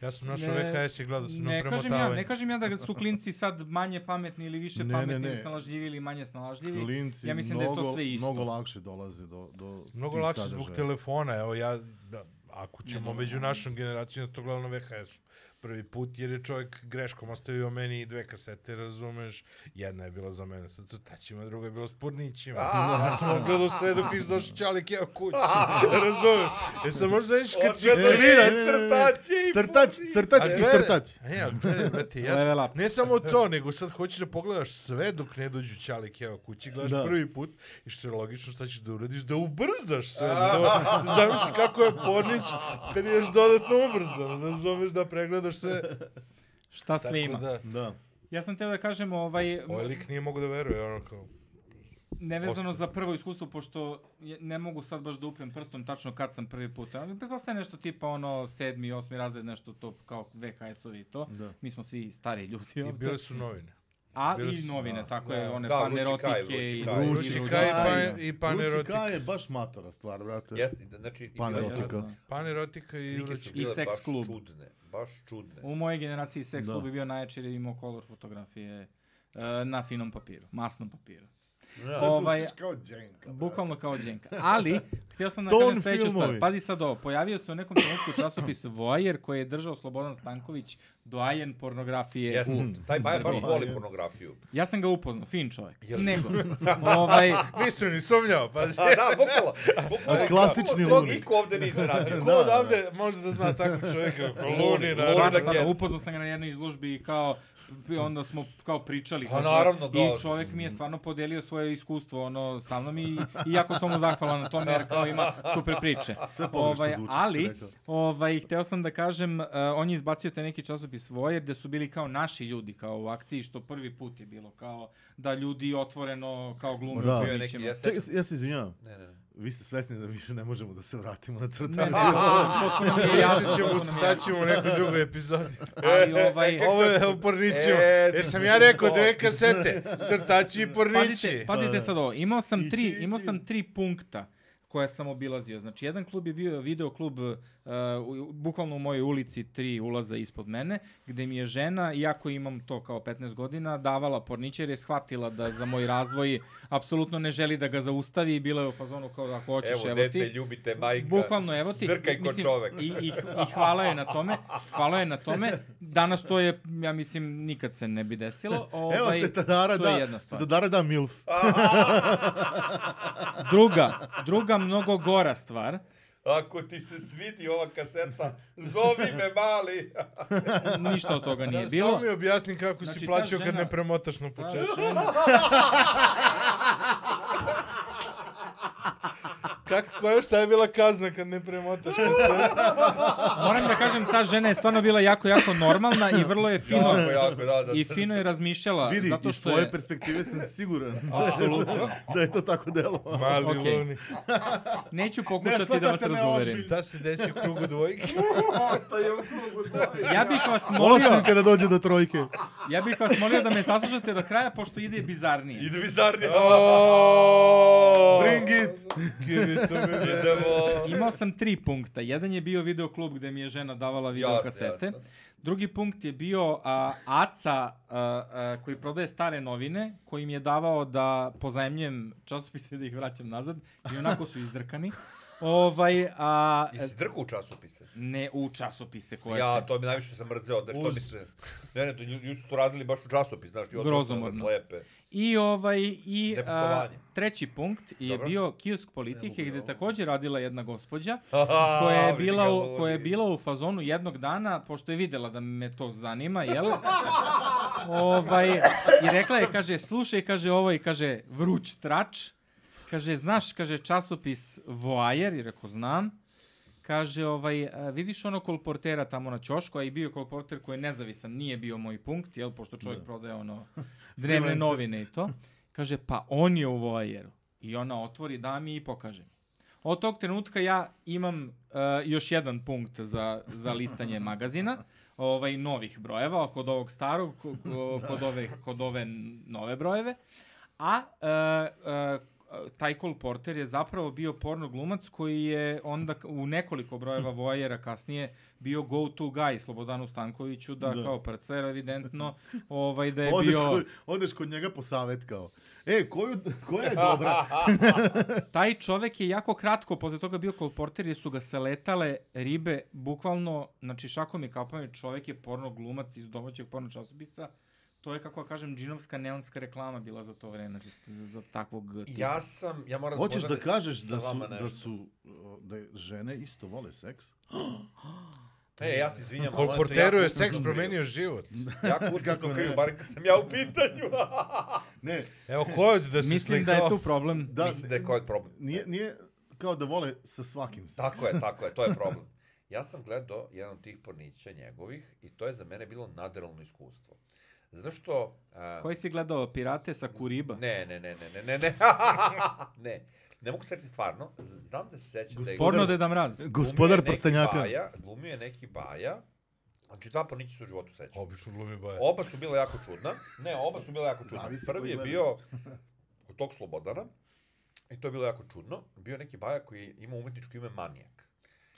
Ja sam našao Ne, VHS i gledao sam na Ne kažem, ja, ne premotavanje. kažem ja da su klinci sad manje pametni ili više Ne, ne, pametni, ne. ili snalažljivi ili manje snalažljivi. Klinci ja mislim da je to mnogo- sve isto. Mnogo lakše dolaze do, do Mnogo tih lakše sadržaja. zbog telefona, evo ja, da, ako Ne, ćemo ne, među ne. našom generacijom, ja sam to gledao na VHS-u prvi put, jer je čovjek greškom ostavio meni dve kasete, razumeš, jedna je bila za mene sa crtaćima, druga je bila s purnićima, ja sam gledao sve dok izdošao čalik, ja kuću, razumeš, jer sam možda znaš kad si Odgledao je E, klinac, crtaće i Crtač, crtač A i gledaj- crtač. E, ali gledaj, brate, ja Level sam, up. ne samo to, nego sad hoćeš da pogledaš sve dok ne dođu čalik, evo, kući, gledaš Da. prvi put i što je logično šta ćeš da uradiš, da ubrzaš sve, da se zamisli kako je pornić kad je još dodatno ubrzan, da zoveš da pregledaš sve. Šta sve ima. Tako da, Da. Ja sam teo da kažem, ovaj, m- ovaj lik nije mogu da veruje, ono kao, nevezano za prvo iskustvo, pošto je- ne mogu sad baš da uprem prstom tačno kad sam prvi put. Ali pretpostavljam nešto tipa ono sedmi, osmi razred, nešto to kao VHS-ovi i to. Da. Mi smo svi stari ljudi i ovde. bile su novine. A bile i su- novine, da, tako da. je, one Da, da, Luči panerotike Kaj, i Luči Kaj. drugi. Ruči drugi. Kaj i, Kaj, pa, i Luci panerotika. K je baš matora stvar, brate. Jeste, da- znači... i Panerotika. bile su- Da. Panerotika i Slike Ruči su Kaj. bile seks baš klub. čudne, baš čudne. U mojoj generaciji seks Da. klub bi bio najjači jer je imao kolor fotografije e, na finom papiru, masnom papiru. Da. ovaj, kao dženka. (laughs) bukvalno kao dženka. Ali, htio sam da Ton kažem sledeću filmovi. stvar. Pazi sad ovo, pojavio se u nekom trenutku časopis Voajer koji je držao Slobodan Stanković, doajen pornografije. Jeste, jeste. taj Baja baš Srbije. voli pornografiju. Ja sam ga upoznao, fin čovjek. Jel? Nego, ovaj, Nisam ni sumnjao, pazi. A da, bukvalno. bukvalno Klasični bukvalno, lunik. Niko ovde nije radio. Ko odavde može da zna takvog (laughs) čovjeka? Luni, Luni, naravno. stvarno, da stvarno, kjec. upoznao sam ga na jednoj izložbi i kao pri- onda smo kao pričali Pa kako- naravno, kao- i čovjek mi je stvarno podelio svoje iskustvo ono sa mnom i, i jako sam mu zahvalan na tome jer kao ima super priče Sve pogrešno zvuči, što si ali rekao. ovaj, hteo sam da kažem uh, on je izbacio te neki časopis svoje gde su bili kao naši ljudi kao u akciji što prvi put je bilo kao da ljudi otvoreno kao glume Da. Bio je neki ne, jesak. Čekaj, ja se izvinjavam. Ne, ne, ne. Vi ste svesni da više ne možemo da se vratimo na (laughs) ne, crtač. potpuno mi je jasno, Pričat ćemo, potpuno mi je jasno. staćemo u nekoj drugoj (laughs) epizodi. ali ovaj Ovo je u pornićima. E, Jer sam ja rekao to. dve kasete, crtači i pornići. Pazite, pa, Pa pazite sad ovo, imao sam Ići, tri, ići. imao sam tri punkta koja sam obilazio. Znači, jedan klub je bio video klub uh, u- bukvalno u mojoj ulici, tri ulaza ispod mene, gde mi je žena, iako imam to kao 15 godina, davala porniće jer je shvatila da za moj razvoj apsolutno ne želi da ga zaustavi i bila je u fazonu kao da ako hoćeš, Evo, evo, dete, ti. ljubite, majka. Bukvalno, evo ti. Drkaj ko mislim, čovek. I, i, I hvala je na tome. Hvala je na tome. Danas to je, ja mislim, nikad se ne bi desilo. Ovaj, Evo te Tadara to je da, jedna stvar. Tadara da milf. Druga, druga mnogo gora stvar ako ti se svidi ova kaseta, zovi me mali. Ništa od toga nije Sa- bilo. Samo mi objasni kako Znači, si ta plaćao kad žena- ne premotaš na Ta početku. žena- Pa- Kako, koja šta je bila kazna kad ne (laughs) premotaš na sve? Moram da kažem, ta žena je stvarno bila jako, jako normalna i vrlo je fino, jako, jako, da, da. i (laughs) fino je razmišljala. Vidi, zato iz što tvoje je, perspektive sam siguran da, da je to tako delo. Mali Okej. lovni. neću Ne, pokušati shvatate da vas me razuverim. ozbiljno. Šta se desi u krugu dvojke? Ostaje Pa u krugu dvoje. Ja bih vas molio, (laughs) Osim kada dođe do trojke. ja bih vas molio da me saslušate do kraja, pošto ide bizarnije. Ide bizarnije. Oh, Bring it! give it to me. baby. Idemo. Imao sam tri punkta. Jedan je bio videoklub gde mi je žena davala videokasete. jasno. Drugi punkt je bio a, Aca a, a, koji prodaje stare novine, koji mi je davao da pozajemljem časopise i da ih vraćam nazad. I onako su izdrkani. Ovaj, a, Jesi drku u časopise? ne u časopise koje... Ja, to mi najviše sam mrzeo, da što Uz. mi se... Ne, ne, to ljudi ljudi su to radili baš u časopis, znaš, i odnosno da Grozomorno. (laughs) slepe. I ovaj i a, Nepoštovanje. treći punkt je Dobro. bio kiosk politike gdje također radila jedna gospođa Aha, koja je vidi bila ga u, vodi. koja je bila u fazonu jednog dana pošto je videla da me to zanima jel ovaj i rekla je kaže slušaj kaže ovo i kaže vruć trač kaže znaš kaže časopis Voajer i rekao znam Kaže, ovaj, a, vidiš ono kolportera tamo na ćošku, a i bio je kolporter koji je nezavisan, nije bio moj punkt, jel, pošto čovjek prodaje ono dnevne Freelancer. novine i to. Kaže, pa on je u voajeru. I ona otvori, da mi i pokaže mi. Od tog trenutka ja imam uh, još jedan punkt za, za listanje magazina, ovaj, novih brojeva, kod ovog starog, ko- ko- kod ove, kod ove nove brojeve. A uh, uh, taj Cole Porter je zapravo bio porno glumac koji je onda k- u nekoliko brojeva Vojera kasnije bio go to guy Slobodanu Stankoviću da, Da. kao parcer evidentno ovaj da je Odeš bio kod, odeš kod njega po savjet kao. E, koju, koja je dobra? taj čovek je jako kratko posle toga bio kolporter jer su ga seletale ribe bukvalno znači šakom i kapom je čovek je porno glumac iz domaćeg porno časopisa to je kako ja kažem džinovska neonska reklama bila za to vreme za, za, za takvog tipa. Ja sam, ja (laughs) moram... Hoćeš da možda kažeš sa da su, vama nešto. da su uh, da je- žene isto vole seks? E, ja se izvinjam, ali ono je to Kolporteru jako je (laughs) seks usputno promenio (laughs) život. kriju. Jako usputno ne? kriju, bar kad sam ja u pitanju. (laughs) Ne, Evo, ko je da se mislim da slikao? je tu problem da, Mislim da je koji problem. nije, nije kao da vole sa svakim seks. Tako je, tako je, to je problem. Ja sam gledao jedan od tih pornića njegovih i to je za mene bilo nadrealno iskustvo. Zato što... a, koji si gledao pirate sa kuriba Ne, ne, ne, ne, ne, ne, (laughs) ne. ne. Ne mogu se reći stvarno. Z- Znam da se sećam da je... porno deda mraz glumio je Gospodar neki prstenjaka. Baja, glumio je neki baja. Znači, dva pornića su u životu sećam. Obično glumi baje. Oba su bila jako čudna. Ne, oba su bila jako čudna. Zavisi Prvi koji je gleda. bio od tog Slobodana. I to je bilo jako čudno. Bio je neki baja koji je imao umetničko ime Manijak.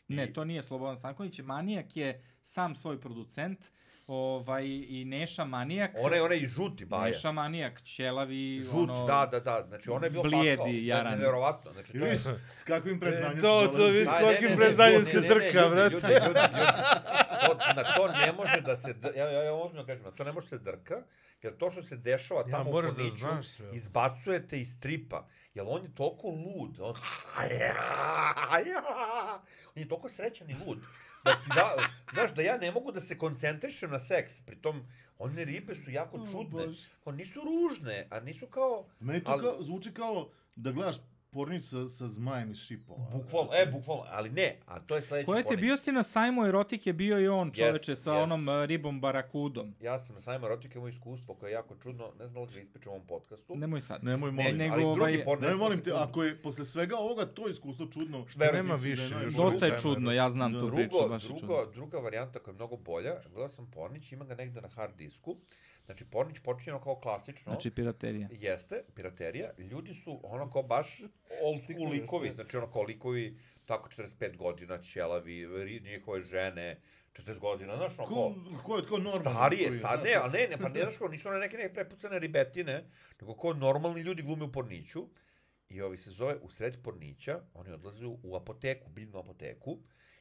ne to nije Slobodan Stanković manijak je sam svoj producent ovaj i Neša manijak Onaj, onaj žuti baja. Neša manijak ćelavi Žut, ono da, da, da. Znači, ona je bila Blijedi, pakao. Ne- jaran. Nevjerovatno. Znači, to Viš, je... s kakvim predznanjem E, to- su dolazi. to viš- Aj, S kakvim preznanjem se trka, brate? Ljudi, ljudi, ljudi, to, na to ne može da se, dr- ja, ja, ja ozbiljno kažem, na to ne može se drka, jer to što se dešava Ja, tamo u moraš da Porniću, znaš sve. izbacujete iz tripa, jer on je toliko lud, on, (laughs) on je toliko srećan i lud, da ti da, znaš, da ja ne mogu da se koncentrišem na seks, pritom, one ribe su jako čudne, kao nisu ružne, a nisu kao, Meni to ali- kao, zvuči kao da gledaš pornić sa, sa zmajem iz šipova. bukvalno, e, bukvalno, ali ne, a to je sledeći Ko je ti Pornić. bio si na sajmu erotik je bio i on čoveče sa yes. onom eh, ribom barakudom. Ja sam sa Ajma Rotik imao iskustvo koje je jako čudno, ne znam da li ga ispričam u ovom podcastu. Nemoj sad. Nemoj molim. ne, Ne, nego ali drugi ovaj- porno. ne, molim te, ako je posle svega ovoga to iskustvo čudno, Šta je Nema mislim da je više. najbolje. još Dosta je Alzheimer. čudno, ja znam tu Drugo, priču, Drugo, baš je čudno. drugo, druga varijanta koja je mnogo bolja, gledao sam Pornić, ima ga negde na hard disku. Znači, Pornić počinje ono kao klasično. Znači piraterija. Jeste, piraterija. Ljudi su ono kao baš old school likovi. Znači, ono kao likovi tako 45 godina, ćelavi, ri- njihove žene, 40 godina, znaš ono Ko, kao... ko je tko normalno? Starije, starije, ne, ali ne, ne, pa ne znaš kao, nisu one neke, neke prepucane ribetine, nego kao normalni ljudi glume u porniću. I ovi se zove, u sred pornića, oni odlaze u- u apoteku, biljnu apoteku,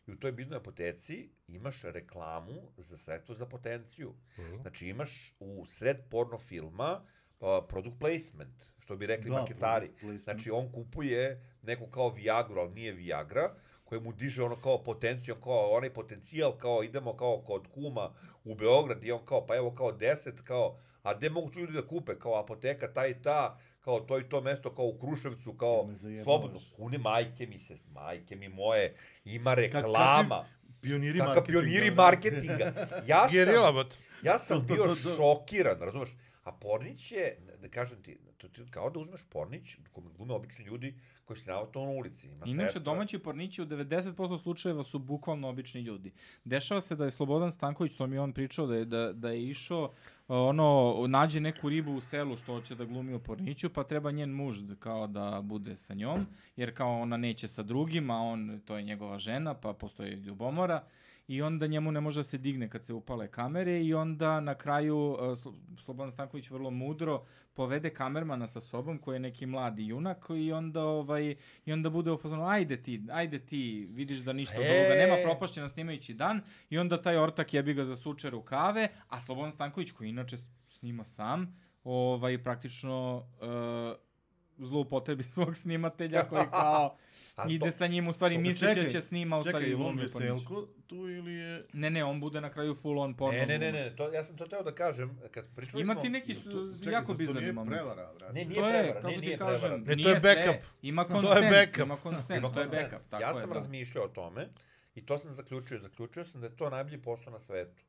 i u toj biljnoj apoteci imaš reklamu za sredstvo za potenciju. Znači imaš u sred porno filma a, product placement, što bi rekli Da, maketari. product placement. Znači on kupuje neku kao Viagra, ali nije Viagra, koje mu diže ono kao potenciju, kao onaj potencijal, kao idemo kao kod kuma u Beograd i on kao, pa evo kao 10, kao, a gde mogu tu ljudi da kupe, kao apoteka, ta i ta, kao to i to mesto, kao u Kruševcu, kao Me zajebavaš. slobodno, kune majke mi se, majke mi moje, ima reklama, Pioniri kakav pioniri ono. marketinga. Ja sam, Gerilabot. ja sam To, to, bio to, to. šokiran, razumeš? A Pornić je, da kažem ti, to ti kao da uzmeš Pornić, kome glume obični ljudi koji se navatu na ulici. Ima Inače, sestra. domaći pornići u 90% slučajeva su bukvalno obični ljudi. Dešava se da je Slobodan Stanković, to mi je on pričao, da je, da, da je išao uh, ono, nađe neku ribu u selu što hoće da glumi u porniću, pa treba njen muž da, kao da bude sa njom, jer kao ona neće sa drugim, a on, to je njegova žena, pa postoji ljubomora. I onda njemu ne može da se digne kad se upale kamere i onda na kraju uh, Slo- Slobodan Stanković vrlo mudro povede kamermana sa sobom koji je neki mladi junak i onda ovaj i onda bude u fazonu ajde ti ajde ti vidiš da ništa od ovoga E. nema propašćena snimajući dan i onda taj ortak jebi ga zasuče rukave a Slobodan Stanković koji inače s- snima sam ovaj praktično uh, zloupotrebi (laughs) svog snimatelja koji (laughs) kao A to- ide sa njim u stvari Dobro, misleći da čekaj, će snima (laughs) u Čekaj, stvari je li on glumi Pornić. veselko tu ili je... Ne, ne, on bude na kraju full on porno. Ne, ne, ne, ne, glumac. to, ja sam to teo da kažem, kad pričali Ima smo... ti neki su jako bizarni moment. momenti. prevara, brate. Ne, nije To je, prevara, kako ne, ti nije prevara. kažem, E, to je nije sve. backup. Ima je konsens, backup. ima konsens, Ima to je konsent. backup. Tako ja je, sam da. razmišljao o tome i to sam zaključio. Zaključio sam da je to najbolji posao na svetu.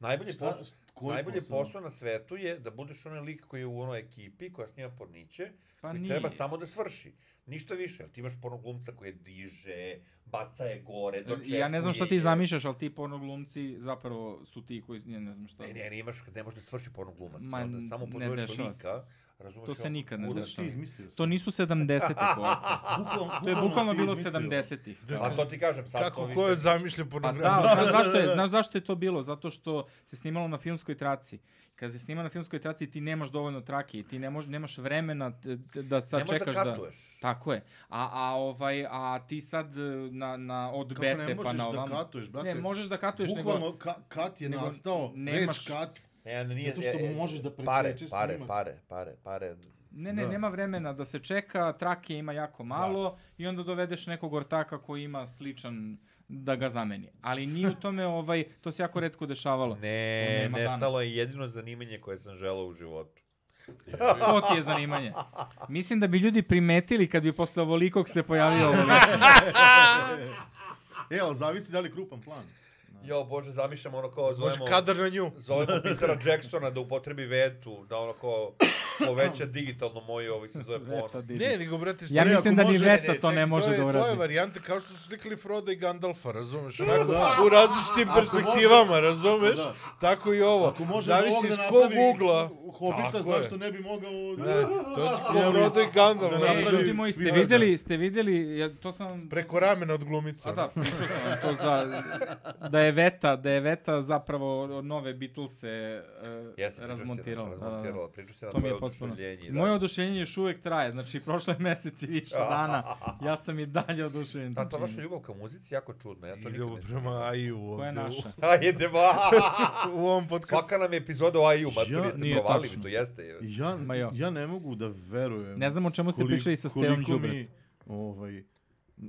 Najbolji Šta- posao, šta- koji najbolji posao? posao? na svetu je da budeš onaj lik koji je u onoj ekipi koja snima porniće Pa koji nije. treba samo da svrši. Ništa više. Jer ti imaš porno glumca koji je diže, baca je gore, dočekuje. Ja ne znam šta ti je. zamišljaš, ali ti porno glumci zapravo su ti koji, ne, ne znam šta. Ne, ne, ne, imaš, ne možeš da svrši porno glumac. Ma, onda samo ne pozoveš dešava se. lika, razumeš? To se on nikad ne bude- Kuda si ti dešava. (laughs) izmislio? To nisu 70-te pojete. Bukvalno- To je bukvalno si bilo izmislio. 70-ih. A to ti kažem, sad to Kako više... ko je zamišlja Pa pornografiju? da, znaš zašto, je, znaš zašto je to bilo? Zato što se snimalo na filmskoj traci. Kad se snima na filmskoj traci ti nemaš dovoljno trake i ti ne mož, nemaš vremena t- t- da sad Ne možeš čekaš da da... katuješ. Tako je. A, a, ovaj, a ti sad e, na, na od Kako ne bete pa možeš na da ovam... katuješ, brate? Ne, možeš da katuješ, nego... Bukvalno ka, kat je nego nastao, nemaš- reč kat. Ne, ne, nije, Zato što e, e, možeš da pare, presečeš pare, snimak. pare, pare, pare. Ne, ne, Da. nema vremena da se čeka, trake ima jako malo i onda dovedeš nekog ortaka koji ima sličan da ga zameni. Ali nije u tome, ovaj, to se jako redko dešavalo. To Ne, nema nestalo danas. je jedino zanimanje koje sam želao u životu. To ti je zanimanje. Mislim da bi ljudi primetili kad bi posle ovolikog se pojavio ovoliko. E, ali zavisi da li je krupan plan. Jo, bože, zamišljam ono kao Može zovemo... kadar na nju. (laughs) Zovemo Petera Jacksona da upotrebi vetu, da ono kao poveća digitalno moju, ovih se zove Eto, bonus. Didi. Ne, nego, brate, Ja stoji- mislim da ni može- Veta to čekaj, ne je- može da To je uradi. varijante kao što su slikali Froda i Gandalfa, razumeš? Onako, u različitim perspektivama, razumeš? Pa Da. Tako i ovo. Ako može Zavisi ovdje iz kog napravi ugla. Hobita, Tako je. zašto ne bi mogao... Da, to je ko Frodo i Gandalf. Da ono, E, napravi- ljudi moji, ste Vizarda. videli, ste vidjeli, ja, to sam... Preko ramena od glumice. A ono. da, pričao sam vam to za... Da je Veta, da je Veta zapravo nove Beatlese uh, Jesam, pričao si, razmontirala. Da, da, da. Razmontirala, pričao se na To mi tvoje je potpuno. oduševljenje. Moje oduševljenje još uvijek traje, znači prošlo je mjesec i (laughs) više dana, ja sam i dalje oduševljen. Da, Znači, ta tom vaša činjenicom. ljubav ka muzici je jako čudna, ja I to nikad ljubav ne prema Aju ovdje. Koja je naša? (laughs) Ajde, (laughs) ba! (laughs) u- U ovom podcastu. Svaka nam je epizoda o AI-u, ma Ja- to niste nije provalili, tačno. to jeste. Ja, Ma jo. ja ne mogu da verujem. Ne znam o čemu ste koliko- pričali sa Stevom koliko mi, Đubret. Ovaj,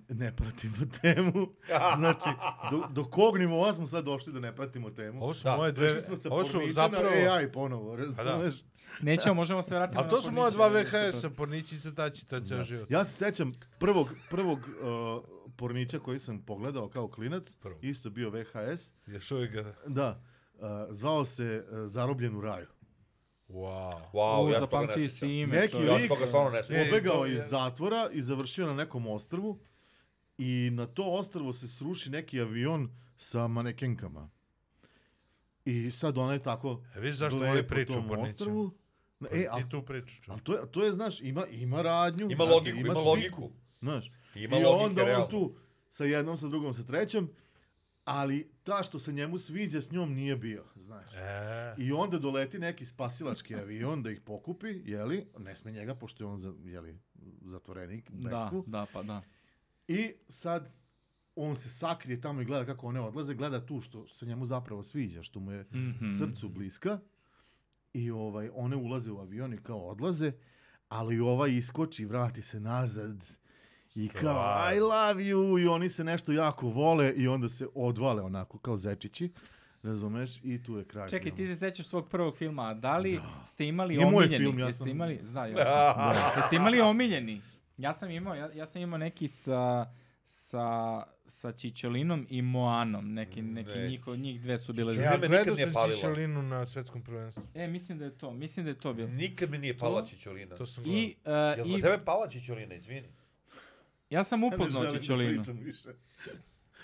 ne pratimo (laughs) temu. Znači, do, do kog nivoa smo sad došli da ne pratimo temu? Ovo su Da, moje dve... Prešli smo ono, sa Ovo su pornića zapravo... na AI ponovo, Pa razumeš? Nećemo, možemo se vratiti. Ali to su moja moje dva VHS-a, Pornići i Crtači, to je ceo život. Ja se sećam prvog, prvog uh, pornića koji sam pogledao kao klinac, Prvog. isto bio VHS, Još uvijek ga... da, uh, zvao se uh, Zarobljen u raju. Wow. Wow, ja se toga ne zapamti E, si sjećam. ime, Neki čovječe. Ja se toga stvarno ne sjećam. Pobegao E, to je- iz zatvora i završio na nekom ostrvu i na to ostrvo se sruši neki avion sa manekenkama. I sad ona je tako... E, vidiš zašto blej voli po priču tom o Porniću. Pa, ostrvu. Na- E, a, Ti tu priču. čuj. a to, je, to je, znaš, ima, ima radnju. Ima znači, brate, logiku, ima sliku, logiku. Znaš, Ima I logike, onda realno. on tu sa jednom, sa drugom, sa trećom, ali ta što se njemu sviđa s njom nije bio, znaš. E, I onda doleti neki spasilački avion da ih pokupi, jeli, ne sme njega, pošto je on, za, jeli, zatvorenik u Da, bekstvu. da, pa da. I sad on se sakrije tamo i gleda kako one odlaze, gleda tu što se njemu zapravo sviđa, što mu je Mhm. srcu bliska. I ovaj, one ovaj ulaze u avion i kao odlaze, ali ova iskoči, vrati se nazad I kao, I love you, i oni se nešto jako vole i onda se odvale onako kao zečići. Razumeš? I tu je kraj. Čekaj, filma. ti se sećaš svog prvog filma, a da li ste imali Nije moj omiljeni? film, ja Jeste sam- imali, zna, ja sam. Jeste imali omiljeni? Ja sam imao, ja, ja sam imao neki sa sa sa Čičelinom i Moanom, neki neki Ne. njihov njih dve su bile. Čičelin- Ja. Ja me nikad gledao nije sam palila. Čišelinu na svetskom prvenstvu. E, mislim da je to, mislim da je to bilo. Nikad mi nije pala Čičolina. To sam gledao. I, uh, Jel i na tebe pala Čičolina, izvini? ja sam Ja ne upoznao želim da Čičelinu. pričam više.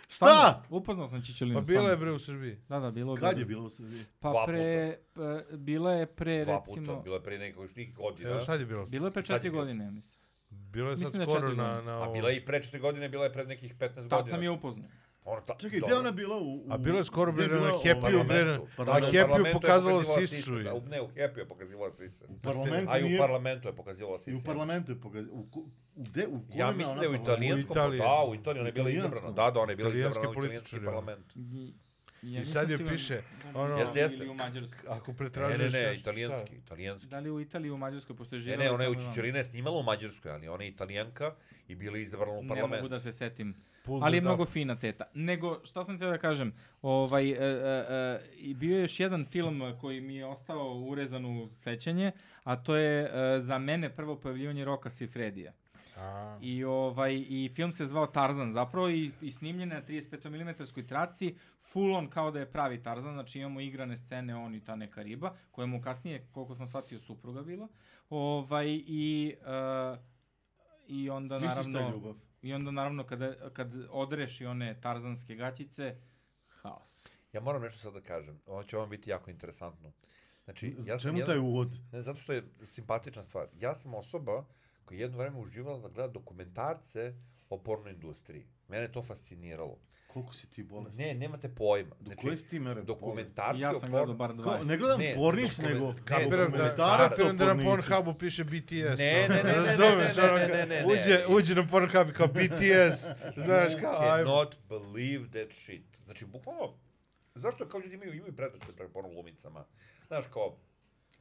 Stvarno, Šta? Upoznao sam Čičelinu. Pa bila je stvarno. bre u Srbiji. Da, da, bilo je. Kad je bilo u Srbiji? Pa Dva pre, pa, bila je pre, Dva recimo, puta, bilo je pre nekog što nikog Evo godina. sad je bilo. bilo je pre Sad je četiri bilo. godine, ja mislim. Bilo je sad Mislim da skoro četiri na, godine. na A ovo. bila je i pre 4 godine, bila je pred nekih 15 godina. Tad sam je upoznao. Ono, ta, Čekaj, gdje dobro. je ona bila u... u A bilo je skoro gdje bre je na bila u Happy-u parlamentu? bre. Parlamentu. na- Da, Na u Happy-u parlamentu je pokazala pokazivala sisu. Da, je. u- ne, u Happy-u je pokazivala sise. U parlamentu A i u nije- parlamentu je pokazivala I sise. u parlamentu je pokazio. U, ko- u, gde, u Ja kojem mislim ona da je u parlamentu? italijanskom, pa Italiji. da, u Italiji ona je bila Italijanskom. izabrana. Da, da, ona je bila Italijanske izabrana u italijanski političare, ono. parlament. I, ja I nisam sad je siguran piše, da li ono- u Jeste, Italiji jeste. Ili u Mađarskoj. Ako Ne, pretražiš... ne, ne, nešto, italijanski, šta? italijanski. Da li u Italiji ili u Mađarskoj, pošto je Ne, živjela E, ne, ona je u tamo ono, i vamo. Čičorina snimala u Mađarskoj, ali ona je italijanka i bila je izabrana u Ne mogu parlament. da se setim. Pull Ali je it mnogo up. fina teta. Nego, šta sam teo da kažem, ovaj, e, e, e, i bio je još jedan film koji mi je ostao urezan u sećanje, a to je e, za mene prvo pojavljivanje Roka Sifredija. A, I, ovaj, I film se zvao Tarzan zapravo i, i snimljen je na 35 mm traci, full on kao da je pravi Tarzan, znači imamo igrane scene, on i ta neka riba, koja mu kasnije, koliko sam shvatio, supruga bila. Ovaj, i, uh, I onda Misliš ta naravno... ljubav? I onda naravno kada, kad odreši one tarzanske gaćice, haos. Ja moram nešto sad da kažem. Ovo će vam biti jako interesantno. Znači, ja Ja sam Čemu jedan- taj uvod? Ne, zato što je simpatična stvar. Ja sam osoba koja je jedno vreme uživala da gleda dokumentarce o porno industriji. Mene je to fasciniralo. Koliko si ti bolestan? Ne, nemate pojma. Znači, Do koje si ti mere bolestan? I dokumentarci ja o sam porno- gledao bar dva. Kao, ne gledam Ne, pornić, dokumen- nego ne, Kapiram E, da, dokumentarac dokumentarac o kapiram da na porniću. Pornhubu piše BTS. Ne, ne, ne, ne, ne, Razumeš, ne, ne, ono, ne, ne, ne, ne. Uđe, uđe na Pornhub i kao (laughs) BTS, znaš You kao, aj, cannot believe that shit. Znači, bukvalno, zašto kao ljudi imaju, imaju predrasude prema porno glumicama? Znaš, kao,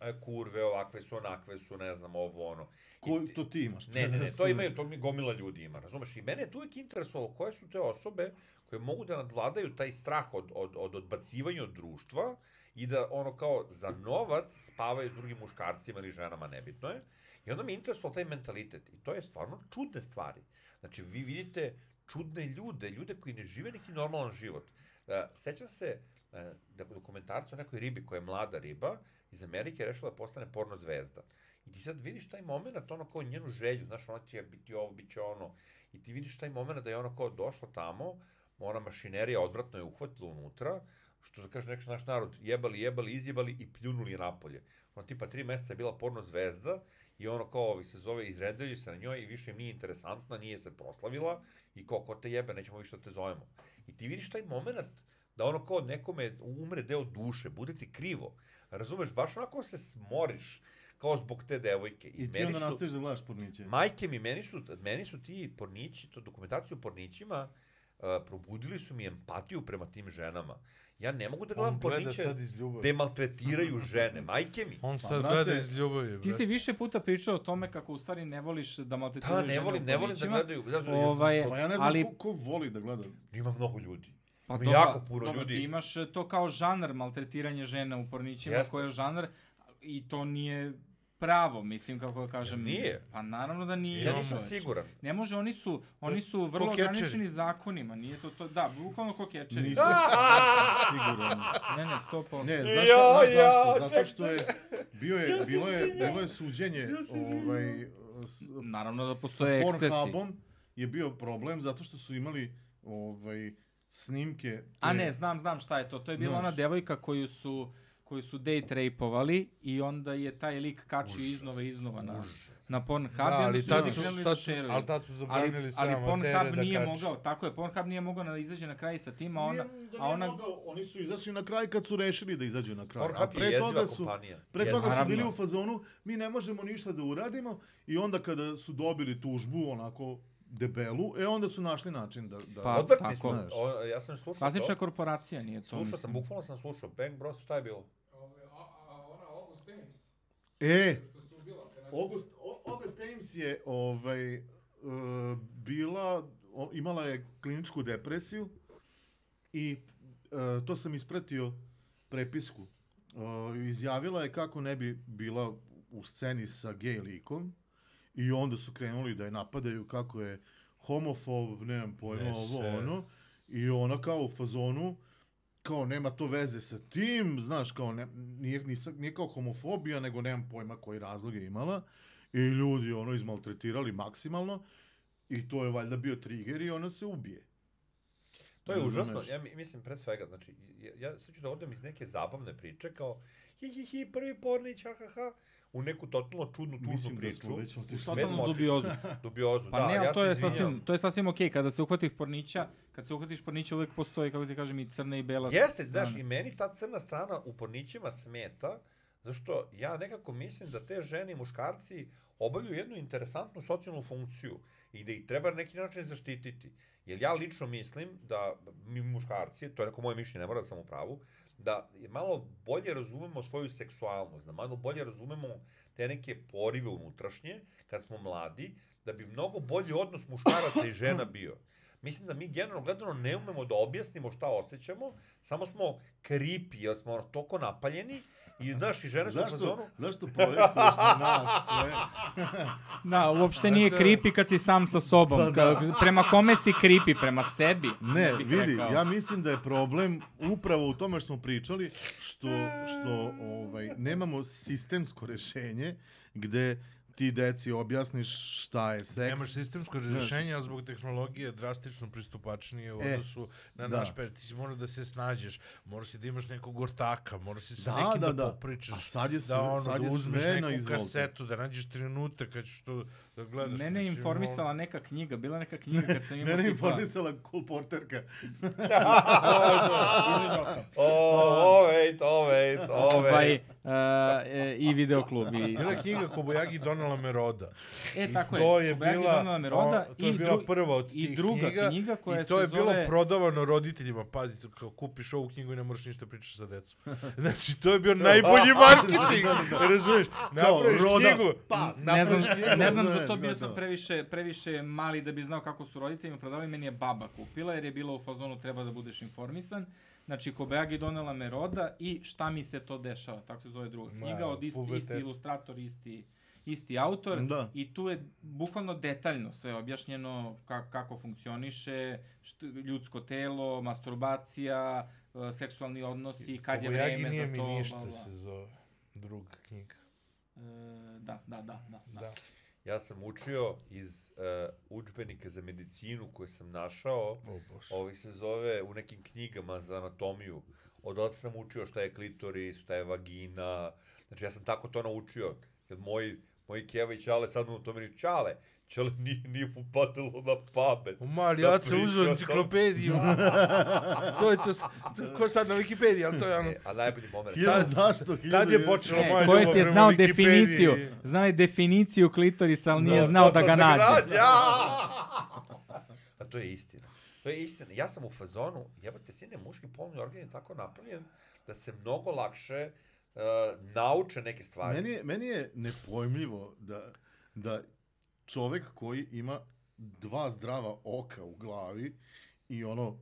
e, kurve, ovakve su, onakve su, ne znam, ovo, ono. I Ko, ti- to ti imaš. Ne, ne, ne, to imaju, to mi gomila ljudi ima, razumeš? I mene je tu uvijek interesovalo koje su te osobe koje mogu da nadvladaju taj strah od, od, od odbacivanja od društva i da ono kao za novac spavaju s drugim muškarcima ili ženama, nebitno je. I onda mi je interesovalo taj mentalitet. I to je stvarno čudne stvari. Znači, vi vidite čudne ljude, ljude koji ne žive neki normalan život. Uh, sećam se uh, dokumentarca o nekoj ribi koja je mlada riba iz Amerike je rešila da postane porno zvezda. I ti sad vidiš taj moment, ono kao njenu želju, znaš, ona će biti ovo, bit će ono. I ti vidiš taj moment da je ona kao došla tamo, ona mašinerija odvratno je uhvatila unutra, što da kaže neki naš narod, jebali, jebali, izjebali i pljunuli je napolje. Ona tipa tri meseca je bila porno zvezda i ono kao ovi se zove, izredaju se na njoj i više im nije interesantna, nije se proslavila i kao ko te jebe, nećemo više da te zovemo. I ti vidiš taj moment da ono kao nekome umre deo duše, bude ti krivo. Razumeš, baš onako se smoriš kao zbog te devojke. I ti onda nastaviš da gledaš porniće. Majke mi, meni su, meni su ti pornići, to dokumentaciju o pornićima, uh, probudili su mi empatiju prema tim ženama. Ja ne mogu da gledam on gleda porniće sad iz ljubavi. gde maltretiraju žene. Majke mi. On sad brate, gleda iz ljubavi, Ti si brate. više puta pričao o tome kako u stvari ne voliš da maltretiraju Da, ne volim, ne volim da gledaju. Znači, Ovaj, ovaj, Pa ja ne znam ali- ko, ko voli da (laughs) gleda. Ima mnogo ljudi. Pa Ima dobra, jako puno dobra, ljudi. Ti imaš e, to kao žanar maltretiranje žena u pornićima, Jeste. koji je žanar i to nije pravo, mislim kako da kažem. Nije. Pa naravno da nije. Ja nisam čoveče. siguran. Ne može, oni su, oni su ko vrlo catcheri. ograničeni zakonima, nije to to, da, bukvalno ko kečeri. Nisam siguran. Ne, ne, 100%. Ne, Ne, znaš, Ja, ja, znaš ja, zašto? čekaj. Zato što je, bio je, bilo, je, bilo je suđenje ovaj, s, Naravno da postoje ekscesi. Pornhubom je bio problem zato što su imali ovaj, snimke. te- A ne, znam, znam šta je to. To je bila Znaš. ona devojka koju su koju su date rapeovali i onda je taj lik kačio iznova i iznova na, na Pornhub. Da, ali tad tad su, tad su, ali tad su zabranili ali, sve ali amatere da Pornhub kače. nije mogao, tako je, Pornhub nije mogao da izađe na kraj sa tim, a Nije ona, da a nije ona mogao, oni su izašli na kraj kad su rešili da izađu na kraj. a Pornhub je pre toga jeziva su, kompanija. pre toga su Naravno. bili u fazonu, mi ne možemo ništa da uradimo i onda kada su dobili tužbu onako debelu, e onda su našli način da... da Pa, Odvrtni tako. su. O, ja sam slušao klasična to. korporacija nije to. Slušao sam, mislim. bukvalno sam slušao. Bang Bros, šta je bilo? E, August, o, August Ames je ovaj, e, bila, o, imala je kliničku depresiju i e, to sam ispratio prepisku. E, izjavila je kako ne bi bila u sceni sa gej likom i onda su krenuli da je napadaju kako je homofob, nemam pojma, Ne se. ovo ono. I ona kao u fazonu, kao nema to veze sa tim, znaš, kao ne, nije, nisa, nije kao homofobija, nego nemam pojma koji razlog je imala. I ljudi ono izmaltretirali maksimalno i to je valjda bio trigger i ona se ubije. To je Razumeš? užasno, ja mi- mislim pre svega, znači, ja, ja sad ću da odem iz neke zabavne priče, kao hi hi hi, prvi pornić, ha ha ha, u neku totalno čudnu, tužnu Mislim da priču. smo već otišli. Bez Totalno motiša. dubiozu. Dubiozu, Pa da, ne, ali ja to se je izvinjam. sasvim, to je sasvim okej, kada se uhvatiš pornića, kad se uhvatiš pornića uvek postoji, kako ti kažem, i crna i bela Jeste, strana. znaš, i meni ta crna strana u pornićima smeta, zašto ja nekako mislim da te žene i muškarci obavljaju jednu interesantnu socijalnu funkciju i da ih treba na neki način zaštititi. Jer ja lično mislim da mi muškarci, to je neko moje mišljenje, ne mora da sam u pravu, da je malo bolje razumemo svoju seksualnost, da malo bolje razumemo te neke porive unutrašnje kad smo mladi, da bi mnogo bolji odnos muškaraca i žena bio. Mislim da mi generalno gledano ne umemo da objasnimo šta osjećamo, samo smo kripi, jer smo ono, toliko napaljeni i znaš i žene su u fazonu... (laughs) Zašto, zašto projektuješ na nas sve? (laughs) Da, uopšte nije creepy kad si sam sa sobom. Ka- prema kome si creepy? Prema sebi. Ne, bih vidi, rekao. ja mislim da je problem upravo u tome što smo pričali, što, što ovaj, nemamo sistemsko rešenje gde ti deci objasniš šta je seks. Nemaš sistemsko rješenje, a zbog tehnologije drastično pristupačnije u E, odnosu na da. naš per. Ti si mora da se snađeš, moraš si da imaš nekog ortaka, moraš si sa Da, nekim da, da, da. popričaš. A sad je sve- da, ono, sad da je uzmeš sve neku na izvoltu. kasetu, da nađeš trenutak kad ćeš to da gledaš. Mene je mislim, ono. informisala neka knjiga, bila neka knjiga kad sam imao Mene je tipa- informisala cool porterka. O, o, wait, o, wait, o, Ovaj, wait. e, e, i videoklub (laughs) i ono, Bila je knjiga Kobojagi donala me roda. E, tako je. to je Kobajagi bila, Donald Meroda o, to je i bila dru- prva od i tih druga knjiga, knjiga koja i to se je bilo zove- prodavano roditeljima, pazi, kao kupiš ovu knjigu i ne moraš ništa pričati sa decom. (laughs) Znači, to je (laughs) bio najbolji marketing, razumiješ? Napraviš roda, knjigu, pa, Ne znam, napraviš ne znam Znam, za to, bio gledao. sam previše, previše mali da bi znao kako su roditeljima prodavali, meni je baba kupila jer je bila u fazonu treba da budeš informisan. Znači, Kobeagi donela me roda i šta mi se to dešava, tako se zove druga Ma, knjiga, od isti, isti pubertet. ilustrator, isti, isti autor. Da. I tu je bukvalno detaljno sve objašnjeno ka, kako funkcioniše, št, ljudsko telo, masturbacija, e, seksualni odnosi, kad je Kobojagi vreme nije za mi to. ništa bla, bla. se zove druga knjiga. E, da, da, da, da. da. Da. Ja sam učio iz uh, učbenika za medicinu koje sam našao, O bože. Ovi se zove u nekim knjigama za anatomiju. Odatle sam učio šta je klitoris, šta je vagina. Znači ja sam tako to naučio. Jer moji, moji Keva i Ćale sad mu to meni Ćale. Ćale (laughs) nije, nije mu padalo na pamet. U mali, Da ja sam priča uzeo o enciklopediju. (laughs) to je to, s- to, ko sad na Wikipediji, ali to je ono... E, a najbolji moment. Hiljadu, zašto? Hiljadu, Tad je jedan. počela E, moja ko je ljubav ti je prema znao Wikipediji. definiciju? Znao je definiciju klitorisa, ali nije Da, znao da ga nađe. (laughs) nađe, aaa! A to je istina. To je istina. Ja sam u fazonu, jebate, sine, muški polni organ je tako napravljen da se mnogo lakše uh, nauče neke stvari. Meni je, meni je nepojmljivo da, da čovek koji ima dva zdrava oka u glavi i ono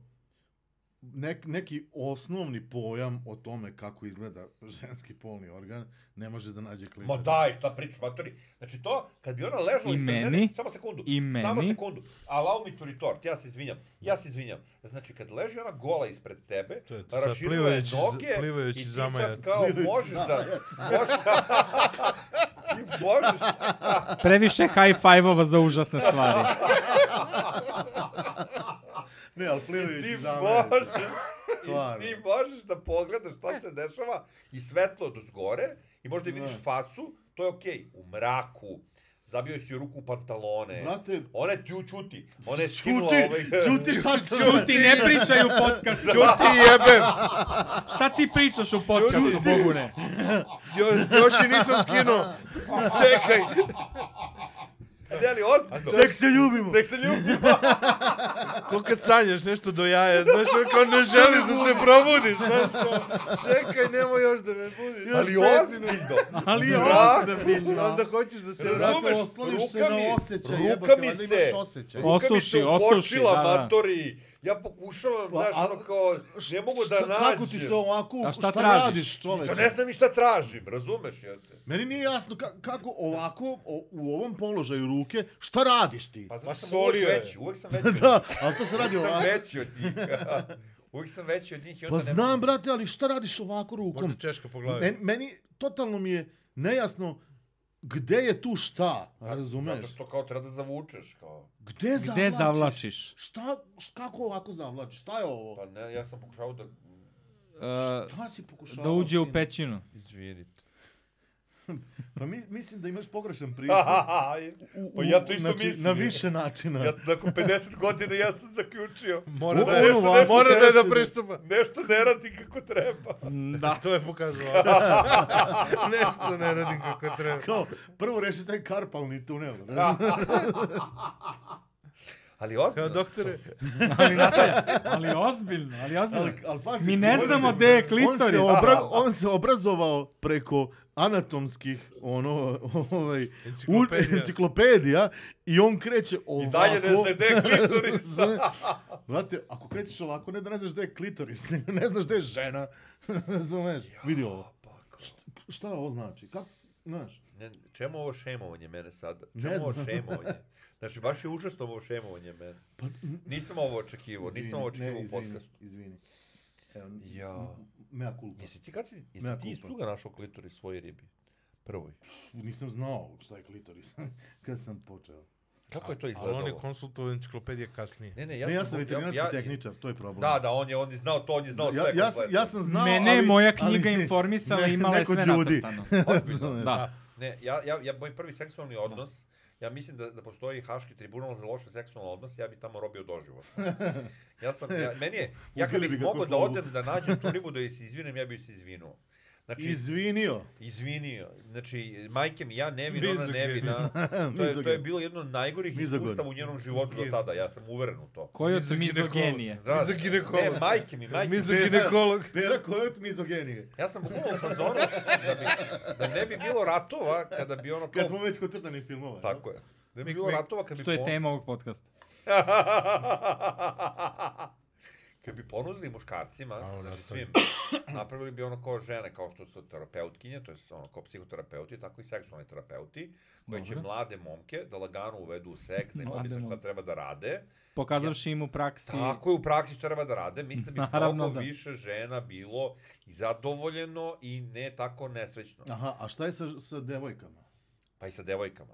nek, neki osnovni pojam o tome kako izgleda ženski polni organ ne može da nađe klitoris. Ma daj, šta pričaš, matori. Znači to, kad bi ona ležala I ispred mene, meni, samo sekundu, i samo meni. sekundu, allow me to retort, ja se izvinjam, ja se izvinjam. Znači kad leži ona gola ispred tebe, To je to, sad raširila je plivajući z- noge plivajući i ti zamajac. sad kao možeš da, možeš, ti možeš, Previše high five-ova za užasne stvari. Ne, ali ti plivajući za možeš, Stvarno. ti možeš da pogledaš šta se dešava i svetlo do zgore i možda i vidiš Da. facu, to je okej, u mraku, zabio si joj ruku u pantalone. Brate, Ona je tju, čuti. Ona je skinula ovaj... čuti, (laughs) (laughs) čuti sad sam. Čuti, ne pričaj u podcastu. Ćuti Pa jebem! Šta ti pričaš u podcastu, Bogune? Jo, još i nisam skinuo. Čekaj. Ne, ali ozbiljno. Tek se ljubimo. Tek se (laughs) ljubimo. Ko kad sanjaš nešto do jaja, znaš, ono kao ne želiš da se probudiš, znaš, kao, čekaj, nemoj još da me budiš. ali Još pet ozbiljno. Ali je Brak. minuta, ozbiljno. Onda hoćeš da se Razumeš? vrati. Zato osloniš se ruka mi- na osjećaj, ruka jebote, mi valjda se- imaš osjećaj. O, Ruka mi se Osuši, osuši, ukočila, da, da. matori. Ja pokušavam, Pa, znaš, ali- ono kao, ne mogu da Šta- nađem. Kako ti se ovako, A šta, šta tražiš? radiš čoveče? To ne znam i šta tražim, razumeš, jel te? Meni nije jasno ka, kako ovako, o, u ovom položaju ruke, šta radiš ti? Pa zato Pa sam solio uvijek je. veći, uvijek sam veći. od da, njih. ali to se radi Uvijek sam ovako. veći od njih. (laughs) uvijek sam veći od njih i onda Pa ne znam, mogu. brate, ali šta radiš ovako rukom? Možda Češka po glavi. Meni, meni totalno mi je nejasno gde je tu šta, Pa, Zato razumeš? što kao treba da zavučeš, kao. Gde zavlačiš? Gde zavlačiš? Šta, š- kako ovako zavlačiš? Šta je ovo? Pa ne, ja sam pokušao da... E, Šta si pokušavao? da uđe u sine? pećinu. (laughs) Izvinite. Pa mi, mislim da imaš pogrešan (laughs) pristup. U, U- Pa ja to isto znači, mislim. Na je. više načina. Ja, nakon 50 godina ja sam zaključio. Mora U- da ono je, ovako mora da je kreće, do da. pristupa. Nešto ne radi kako treba. (laughs) Mm, (laughs) Da. To je (laughs) pokazalo. Nešto ne radim kako treba. Kao, prvo reši taj karpalni tunel. Ne? Ali Kao ozbiljno, doktore, Ali nastavlja. Ali ozbiljno, ali ozbiljno. ali, ali pazi, Mi ne on znamo se- gde je On se, klitoris. obra, on se obrazovao preko anatomskih ono (laughs) ovaj u- enciklopedija. enciklopedija i on kreće ovako. I dalje ne zna (laughs) gde je klitoris. Zna- Brate, ako krećeš ovako, ne da ne znaš gde je klitoris, (laughs) nego ne znaš gde je žena. (laughs) Razumeš? Vidi ovo. Pa, kao, Šta ovo znači? Kako, znaš? ne, čemu ovo šemovanje mene sada? Ne Čemu ovo znam. šemovanje? Znači, baš je užasno ovo šemovanje mene. Pa, n- Nisam ovo očekivao, nisam ovo izvini, očekivao ne, u izvini, podcastu. Izvini. Evo, Ja. mea culpa. Jesi ti kad si, jesi Mea ti iz culpa. cuga našao klitoris svoj ribi? Prvoj. Nisam znao šta je klitoris (laughs) kad sam počeo. Kako je to Ali on je izgledalo? konsultovao enciklopedije kasnije. Ne, ne, Ja, ja, ne, ja sam ja- veterinarski ja- tehničar, to je problem. Da, da, on je, on je znao to, on je znao sve. ja, ja, sam, kompletno. ja sam znao, Mene je ali... moja knjiga ali- informisala ne- i imala je neko od sve ljudi. nacrtano. Ozbiljno. (laughs) Da. Ne, ja, ja, ja, moj prvi seksualni odnos, ja mislim da, da postoji Haški tribunal za loše seksualne odnose, ja bi tamo robio doživot. Ja sam, ja, meni je, ja kad Ubili bi bih ga mogao ko da slavu. odem da nađem tu ribu da je se izvinem, ja bih se izvinuo. Znači, Iz... Izvinio. izvinio. Znači, majke mi ja nevin, ona Mizogin. (laughs) nevina. To je, to je Mizogin. bilo jedno od najgorih Mizogin. iskustava u njenom životu do tada, ja sam uveren u to. Koji od Mizoginekolog. mizogenije? Da, Mizoginekolog. Ne, majke mi, majke mi. Mizoginekolog. Pera koja je od mizogenije. Ja sam bukvalno u fazonu da, bi, da ne bi bilo ratova kada bi ono Kad kao smo već kod crtanih filmova. Tako je. Ne bi Mik, bilo mik. ratova kad bi... Što je pon- tema ovog podcasta. (laughs) kad bi ponudili muškarcima, Au, znači nastavi. svim, napravili bi ono kao žene, kao što su terapeutkinje, to je ono kao psihoterapeuti, tako i seksualni terapeuti, koji će Dobro. mlade momke da lagano uvedu u seks, da im Mlade objasne šta momke. treba da rade. Pokazavši im u praksi. Tako je u praksi što treba da rade. Mislim da bi (laughs) Naravno mnogo da. više žena bilo i zadovoljeno i ne tako nesrećno. Aha, a šta je sa, sa devojkama? Pa i sa devojkama.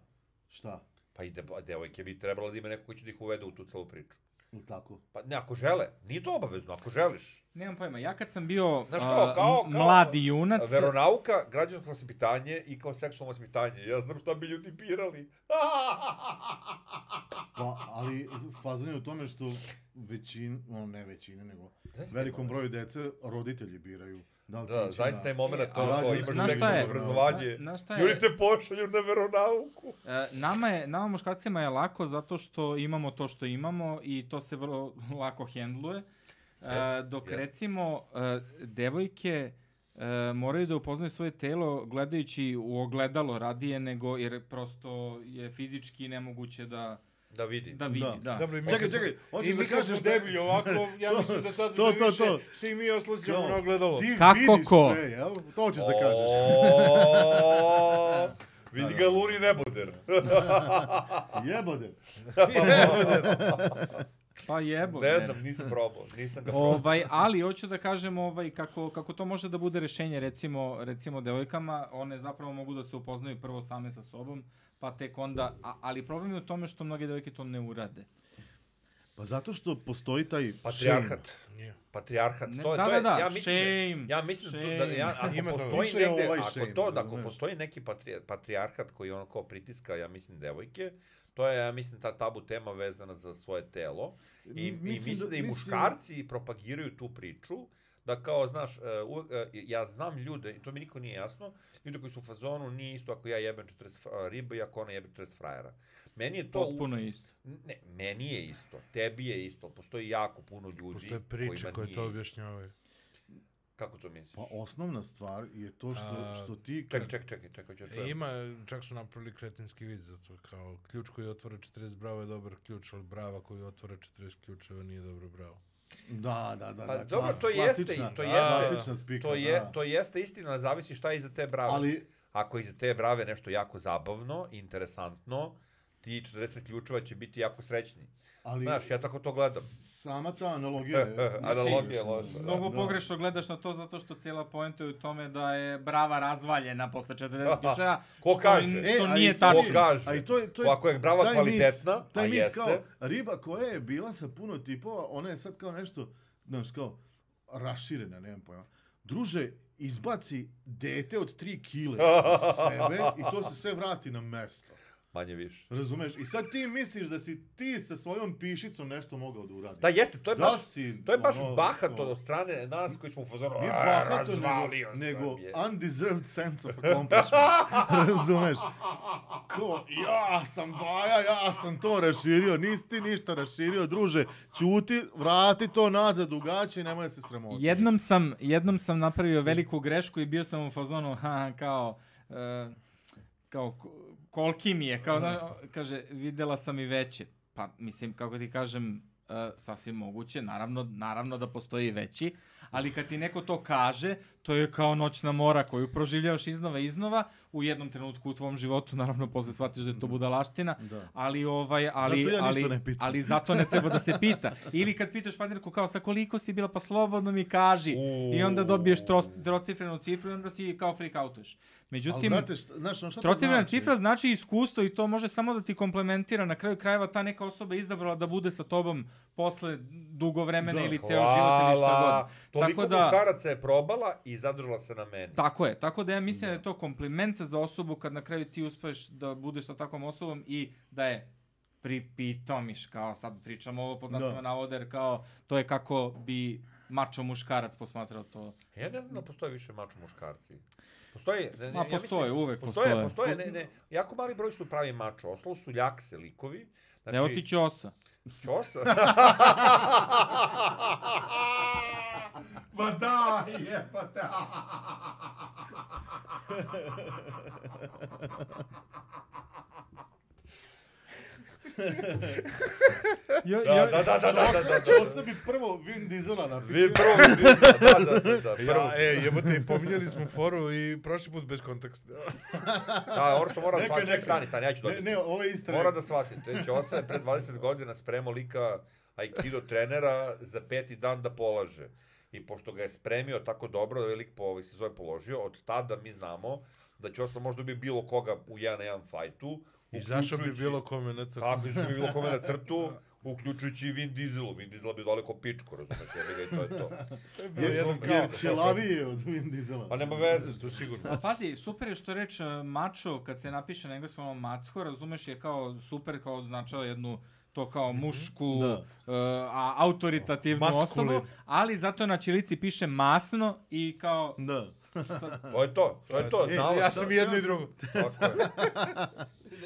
Šta? Pa i debo- devojke bi trebalo da ima neko ko će da ih uvede u tu celu priču. Ili tako? Pa ne, ako žele. Nije to obavezno, ako želiš. Nemam pojma, ja kad sam bio Znaš kao, a, kao- m- kao- mladi junac, Veronauka, građansko vaspitanje i kao seksualno vaspitanje. Ja znam šta bi ljudi (laughs) birali. Pa, ali fazan je u tome što većin, no ne većina, nego Zaista je velikom broju moment. dece roditelji biraju. Da, li će pa Da, ići zaista na- je moment E, to a ako rađe- imaš znaš šta seksualno je? obrazovanje. Zna- znaš šta je? Ljudi te pošalju na veronauku. e, nama, je, nama muškarcima je lako zato što imamo to što imamo i to se vrlo (laughs) lako hendluje. E, Jeste, dok jeste. recimo e, devojke e, moraju da upoznaju svoje telo gledajući u ogledalo radije nego jer prosto je fizički nemoguće da, Da vidi. da vidi. Da. Da. Dobro, i mi Čekaj, kad- čekaj, hoćeš i mi da kad kažeš smo da- deblji (laughs) ovako, ja To- mislim da sad to, sve to, više to. svi mi oslađujemo Kao, na ogledalo. Ti Kako vidiš ko? sve, jel? To hoćeš da (laughs) kažeš. O, Vidi ga Luni neboder. Jebode. Pa jebo. Ne znam, nisam probao. Nisam (laughs) ga probao. Ovaj, ali hoću da kažem ovaj, kako, kako to može da bude rešenje recimo, recimo devojkama, one zapravo mogu da se upoznaju prvo same sa sobom, pa tek onda, a, ali problem je u tome što mnoge devojke to ne urade. Pa zato što postoji taj... shame. Patriarhat. Nije. Patriarhat, Pa Ne, to je, da, to je, da, da, ja mislim, shame, da, ja mislim da, to- da shame. ja, ako Ima toga. postoji Više je negde, ovaj ako shame, to, da, ako razumeš? postoji neki patri, patrijarhat koji ono kao pritiska, ja mislim, devojke, to je, ja mislim, ta tabu tema vezana za svoje telo. I, M- mislim i mislim da, i mislim- muškarci propagiraju tu priču, da kao, znaš, e, uvek, e, ja znam ljude, i to mi niko nije jasno, ljude koji su u fazonu, nije isto ako ja jebem 40 fra- riba i ako ona jebe 40 frajera. Meni je to... u- Potpuno isto. Ne, meni je isto, tebi je isto, postoji jako puno ljudi Postoje kojima priče koje nije to isto. objašnjavaju. Kako to misliš? Pa osnovna stvar je to što, A, što ti... Čekaj, čekaj, čekaj, čekaj, ću da E, čujem. ima, čak su napravili kretinski vid za to, kao ključ koji otvara 40 brava je dobar ključ, ali brava koji otvara 40 ključeva nije dobro bravo. Da, da, da. Pa da, dobro, to jeste i- klasična, to da, jeste- klasična spika, To je, da. to jeste istina, zavisi šta je iza te brave. Ali- Ako je iza te brave nešto jako zabavno, interesantno, ti 40 ključeva će biti jako srećni. Ali Znaš, ja tako to gledam. sama ta analogija (laughs) je... Analogija je Znači, loša, da. Mnogo Da. pogrešno gledaš na to zato što cijela poenta je u tome da je brava razvaljena posle 40 ključeva. (laughs) Ko kaže? Što, što E, ali nije to- tačno. Ko kaže? A i to je, to je, Ako je brava taj kvalitetna, taj a mit jeste. Kao, riba koja je bila sa puno tipova, ona je sad kao nešto, znaš, kao raširena, nemam pojma. Druže, izbaci dete od 3 (laughs) kile iz sebe i to se sve vrati na mesto. Manje više. Razumeš? I sad ti misliš da si ti sa svojom pišicom nešto mogao da uradiš. Da, jeste, to je Da baš, si, to je baš ono, bahato ono, od strane nas koji smo u fazonu, Nije "A, bahato, Pa, razvalio nego, sam nego je." undeserved sense of (laughs) accomplishment. Razumeš? Ko, ja sam Baja, ja sam to raširio, nisi ti ništa raširio, druže. Ćuti, vrati to nazad u gaće i nemoj se sramoti. Jednom sam, jednom sam napravio veliku grešku i bio sam u fazonu, ha, ha, kao, e, kao, ko- koliki mi je, kao, da, kaže, videla sam i veće. Pa, mislim, kako ti kažem, e, sasvim moguće, naravno, naravno da postoji i veći, ali kad ti neko to kaže, to je kao noćna mora koju proživljavaš iznova i iznova, u jednom trenutku u tvom životu, naravno, posle shvatiš da je to budalaština, Mhm. Da. ali ovaj, ali, Zato ja ništa ali, ne pitam. ali zato ne treba da se pita. Ili kad pitaš partnerku kao sa koliko si bila, pa slobodno mi kaži. I onda dobiješ tros, trocifrenu cifru i onda si kao freak outuješ. Ali, Međutim, brate, šta, znaš, ono, šta to trocifrena znači? cifra znači iskustvo i to može samo da ti komplementira. Na kraju krajeva ta neka osoba je izabrala da bude sa tobom posle dugo vremena Da. ili ceo život ili šta god. Toliko Tako da- muškaraca je probala i zadržala se na meni. Tako je, tako da ja mislim da je to kompliment za osobu kad na kraju ti uspeš da budeš sa takvom osobom i da je pripitomiš, kao sad pričam ovo pod znacima Da. navoda, jer kao to je kako bi mačo muškarac posmatrao to. Ja ne znam da postoje više mačo muškarci. Postoji, ne, ne, Ma, ja mislim- postoje, uvek postoje. postoje. Postoje, ne, ne, jako mali broj su pravi mačo, ostalo su ljakse likovi. Znači, Znači, Evo ti ćosa. (laughs) Ćosa. Ma da, pa jebate. Jo, da, da, da, da, da, da, da, Čuo sam bi prvo Vin Diesela na Vi prvo, da, da, da, da, prvo. Ja, e, jebote, i pominjali smo foru i prošli put bez konteksta. Da, Orso mora da Neka, shvati, neka. ček, stani, stani, ja ću Ne, dobiti. ne, ovo je istra. Mora da shvati, to je Ćosa je pre 20 godina spremo lika Aikido trenera za peti dan da polaže. I pošto ga je spremio tako dobro da je lik po ovoj sezoni položio, od tada mi znamo da Ćosa možda bi bilo koga u 1 na 1 fajtu. I zašto bi uključujući- bilo kome na crtu? Tako, izašao bi bilo kome na crtu, uključujući i Vin Dieselu. Vin Diesela bi daleko pičko, razumeš, jebi ga i to je to. Jer, Razumem, jer kao- ćelaviji je od Vin Diesela. Pa nema veze, to je sigurno. A pazi, super je što je reč e, mačo, kad se napiše na engleskom ono macko, razumeš je kao super, kao označava jednu to kao mušku, Da. da. a, autoritativnu Maskulin. osobu, ali zato na ćirilici piše masno i kao Da. To je to, to je to, E, znala ja sam. sam i jedno i drugo. Tako je.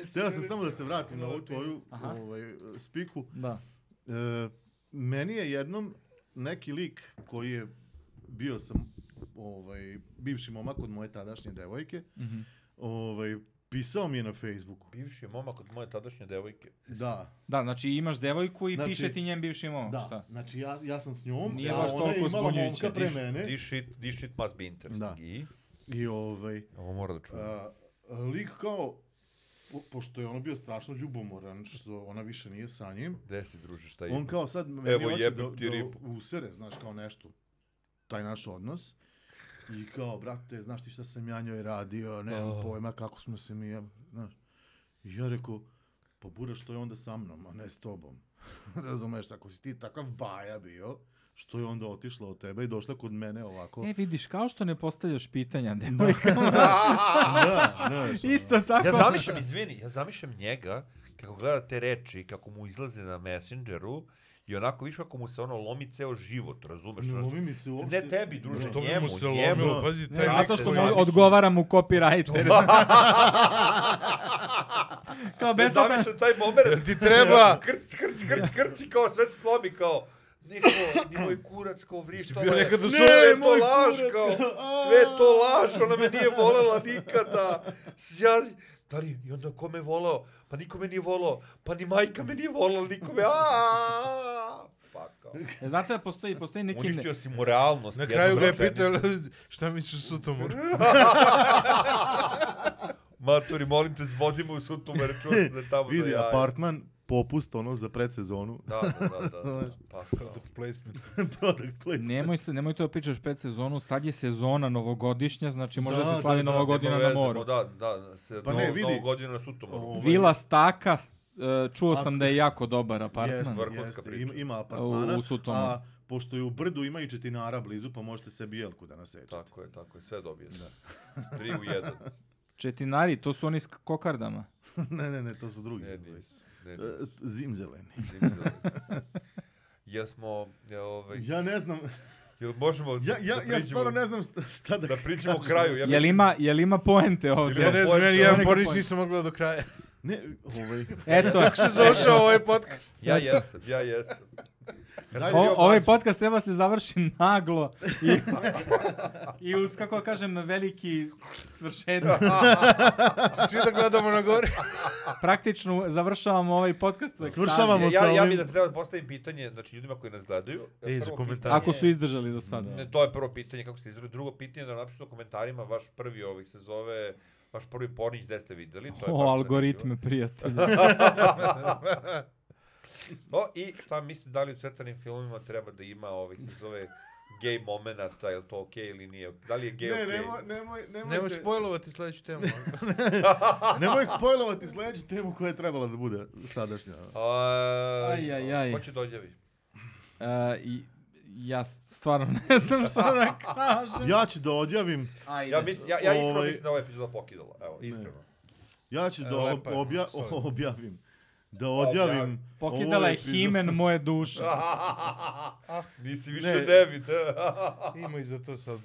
Htio sam samo da se vratim na ovu tvoju Aha. ovaj, spiku. Da. E, meni je jednom neki lik koji je bio sam ovaj, bivši momak od moje tadašnje devojke, Mhm. ovaj, pisao mi je na Facebooku. Bivši je momak od moje tadašnje devojke. Da, Da, znači imaš devojku i Znači- znači, piše ti njen bivši momak, da. šta? Znači ja, ja sam s njom, Nije a baš ona je toliko imala zbunjujuće. momka pre This- mene. This shit, this shit must be interesting. Da. I? I ovaj, Ovo mora da čujem. a, lik kao, po, pošto je ono bio strašno ljubomoran, što ona više nije sa njim, Gde si, druže, šta On je? kao sad meni Evo, hoće da, jebem ti da ribu. usere, znaš, kao nešto, taj naš odnos. I kao, brate, znaš ti šta sam ja njoj radio, nemam Oh. pojma kako smo se mi, ja, znaš. I ja rekao, pa bura što je onda sa mnom, a ne s tobom. (laughs) Razumeš, ako si ti takav baja bio, što je onda otišla od tebe i došla kod mene ovako. E, vidiš, kao što ne postavljaš pitanja devojkama, da, znaš, ono. (laughs) isto tako. Ja zamišljam, izvini, ja zamišljam njega kako gleda te reči, kako mu izlaze na Messengeru i onako više ako mu se ono lomi ceo život, razumeš? Ne ono- lomi mi se uopšte. Ne tebi, druže, Što bi njemu, mu se njemu. lomilo, pazi, taj lik Zato što koji- mu radi su- odgovara mu copywriter. (laughs) Kao Ne besplatan, zamišljam taj moment. Ti treba- Krc, krc, krc, krc i kao sve se slomi, kao... Niko, ni moj kurac kao vriš, Si to bio je, nekad u sve svojoj- je to moj laž, kurac, kao, (laughs) kao, sve je to laž, ona me nije volela nikada. S- Ja, da li, i onda ko me volao? Pa niko me nije volao, pa ni majka me nije volala, niko me, aaa, pa kao. E, znate da postoji, postoji (laughs) neki... ne- Uništio si mu realnost. Na jednom kraju ga je (laughs) rečenicom. pitala šta misliš su tomu? (laughs) Maturi, molim te, zvodi me u sutumer, čuo sam da je tamo do Vidi, jaja. apartman, popust ono za predsezonu. (laughs) Da, da, da, da, da. Pa, kao. Product placement. Product placement. Nemoj, se, nemoj to da pričaš pred sezonu, sad je sezona novogodišnja, znači može da, Da, se slavi da, da, nova godina Nema na veze, moru. mo- Da, da, se Pa pa ne, ne, vidi. novu godinu na sutomoru. Ovo- Vila Staka, e, čuo sam Apartman. da je jako dobar apartman. Jeste, Vrhunska jeste, priča. Ima, ima apartmana, U- u Sutomu. a pošto je u brdu ima i četinara blizu, pa možete se bijelku da nasećate. Tako je, tako je, sve dobije. Da. Tri u jedan. Četinari, to su oni s k- kokardama. (laughs) ne, ne, ne, to su drugi. E, Ne, Ne, nisu. Ne, nisu. Zimzeleni. Ne, nisu. Jesmo, je, ove, Ja ne znam, jel možemo ja, ja, Pa da ja priđemo, stvarno ne znam šta, šta da, da pričamo kažem. kraju. Ja Jel mislim- ima, jel ima poente Ja ovdje? ne znam, Pojde, ja to je jedan neka Boris pojenta. nisam mogla do (laughs) kraja. Ne, (laughs) ovaj, Eto, Se završao ovaj podcast. Ja jesam, ja jesam. Kad sam o, bio ovaj mlađi- podcast treba se završi naglo i, i (laughs) uz, kako kažem, veliki svršetak. Svi da gledamo na gore. Praktično završavamo ovaj podcast u ekstazi. Svršavamo. Ja, ja, ja sa bih da ovim. treba da postavim pitanje, znači ljudima koji nas gledaju. E, Ej, za Prvo komentar. pitanje- Ako su izdržali do sada. Ne, to je prvo pitanje kako ste izrali. Drugo pitanje da napišete u komentarima vaš prvi ovih se zove vaš prvi pornić gde ste videli. To je baš O, algoritme, prijatelji. zanimljivo. O, i šta mislite da li u crtanim filmima treba da ima ovih se zove gay momenata, je li to okej ili nije? Da li je gay Ne, okej? nemoj, nemoj, nemoj, (laughs) Nemoj spojlovati sledeću (laughs) temu. (laughs) nemoj spojlovati sljedeću temu koja je trebala da bude sadašnja. Aj, Aj, aj, aj. Ko će dođevi? E, i, ja stvarno (laughs) ne znam šta da kažem. Ja ću da odjavim, Ajde. Ja, mislim, ja, ja iskreno Ovaj- mislim da je ova epizoda pokidala. Evo, iskreno. (laughs) ja ću E, da ob, Lepa je, obja, solidno. (laughs) objavim, da odjavim. Pokidala ovu je epizodu. himen moje duše. Ah. Nisi više Ne. nevin. Ima i za to sad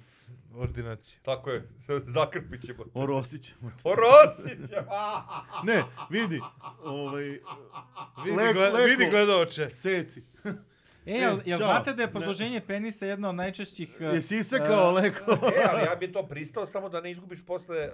ordinacije. (laughs) Tako je, (laughs) zakrpit ćemo. te. Orosit ćemo. Orosit ćemo. (laughs) Ne, vidi, ovaj, Vidi, Lek- gled, leko. vidi gledaoče. seci. E, jel, jel Ćao. znate da je Ne. produženje penisa jedna od najčešćih... e, Jesi isekao leko? E, ali ja bi to pristao samo da ne izgubiš posle...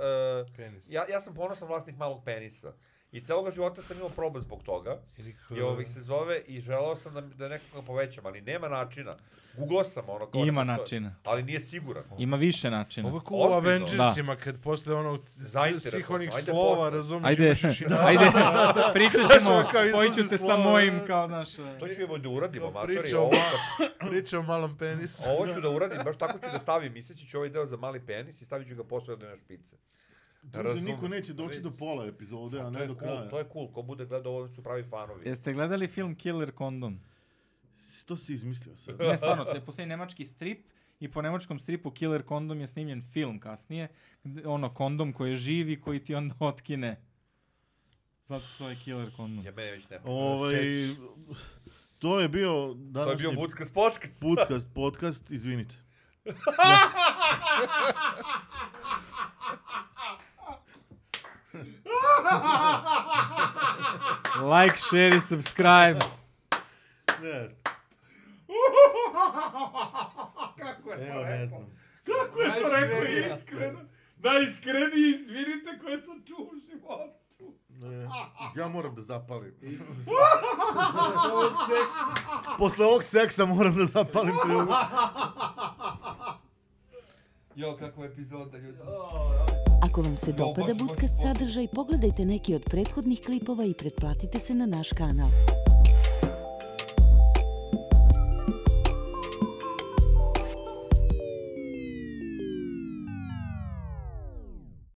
Uh, Penis. ja, ja sam ponosan vlasnik malog penisa. I celoga života sam imao problem zbog toga. Ili kako I da- ovih se zove i želao sam da, da nekako ga povećam, ali nema načina. Googlao sam ono kao... Ima ne postoji. načina. Ali nije siguran. Ima više načina. Ovo je kao u Ozbiljno? Avengersima, kad posle ono Zainteresovan svih sam, onih ajde ono slova, posle. razumiješ, Ajde, (laughs) imaš još i ajde, Ono (laughs) pričat ćemo, Kao izlazi spojit ću te sa slova. mojim, kao naš... e, To ćemo da uradimo, matori. priča o- Ovo, sam, (laughs) priča o malom (laughs) penisu. ovo ću da uradim, baš tako ću da stavim. Misleći ću ovaj deo za mali penis i stavit ću ga posle da na špice. Druže, niko neće doći do pola epizode, a To ne je do cool, kraja. to je cool. Ko bude gledao ovo su pravi fanovi. Jeste gledali film Killer Kondom? To si izmislio sad. Ne, stvarno, te, postoji nemački strip i po nemačkom stripu Killer Kondom je snimljen film kasnije. gde- Ono, kondom koji je živi, koji ti onda otkine. Zato su ovaj Killer Kondom. Ja mene već nema. Ovaj, Seci. to je bio To je današnji bio Buckas podcast. podcast, podcast, izvinite. Like, share i subscribe. Yes. Kako je Evo, ne znam. Kako je to rekao iskreno? Najiskreniji, izvinite, koje sam čuo u životu. Ne. Ja moram da zapalim. Ovog seksa. Posle ovog seksa moram da zapalim (laughs) kljubu. Jo, kakva epizoda, ljudi. Ako vam se dopada Budskast sadržaj, pogledajte neki od prethodnih klipova i pretplatite se na naš kanal.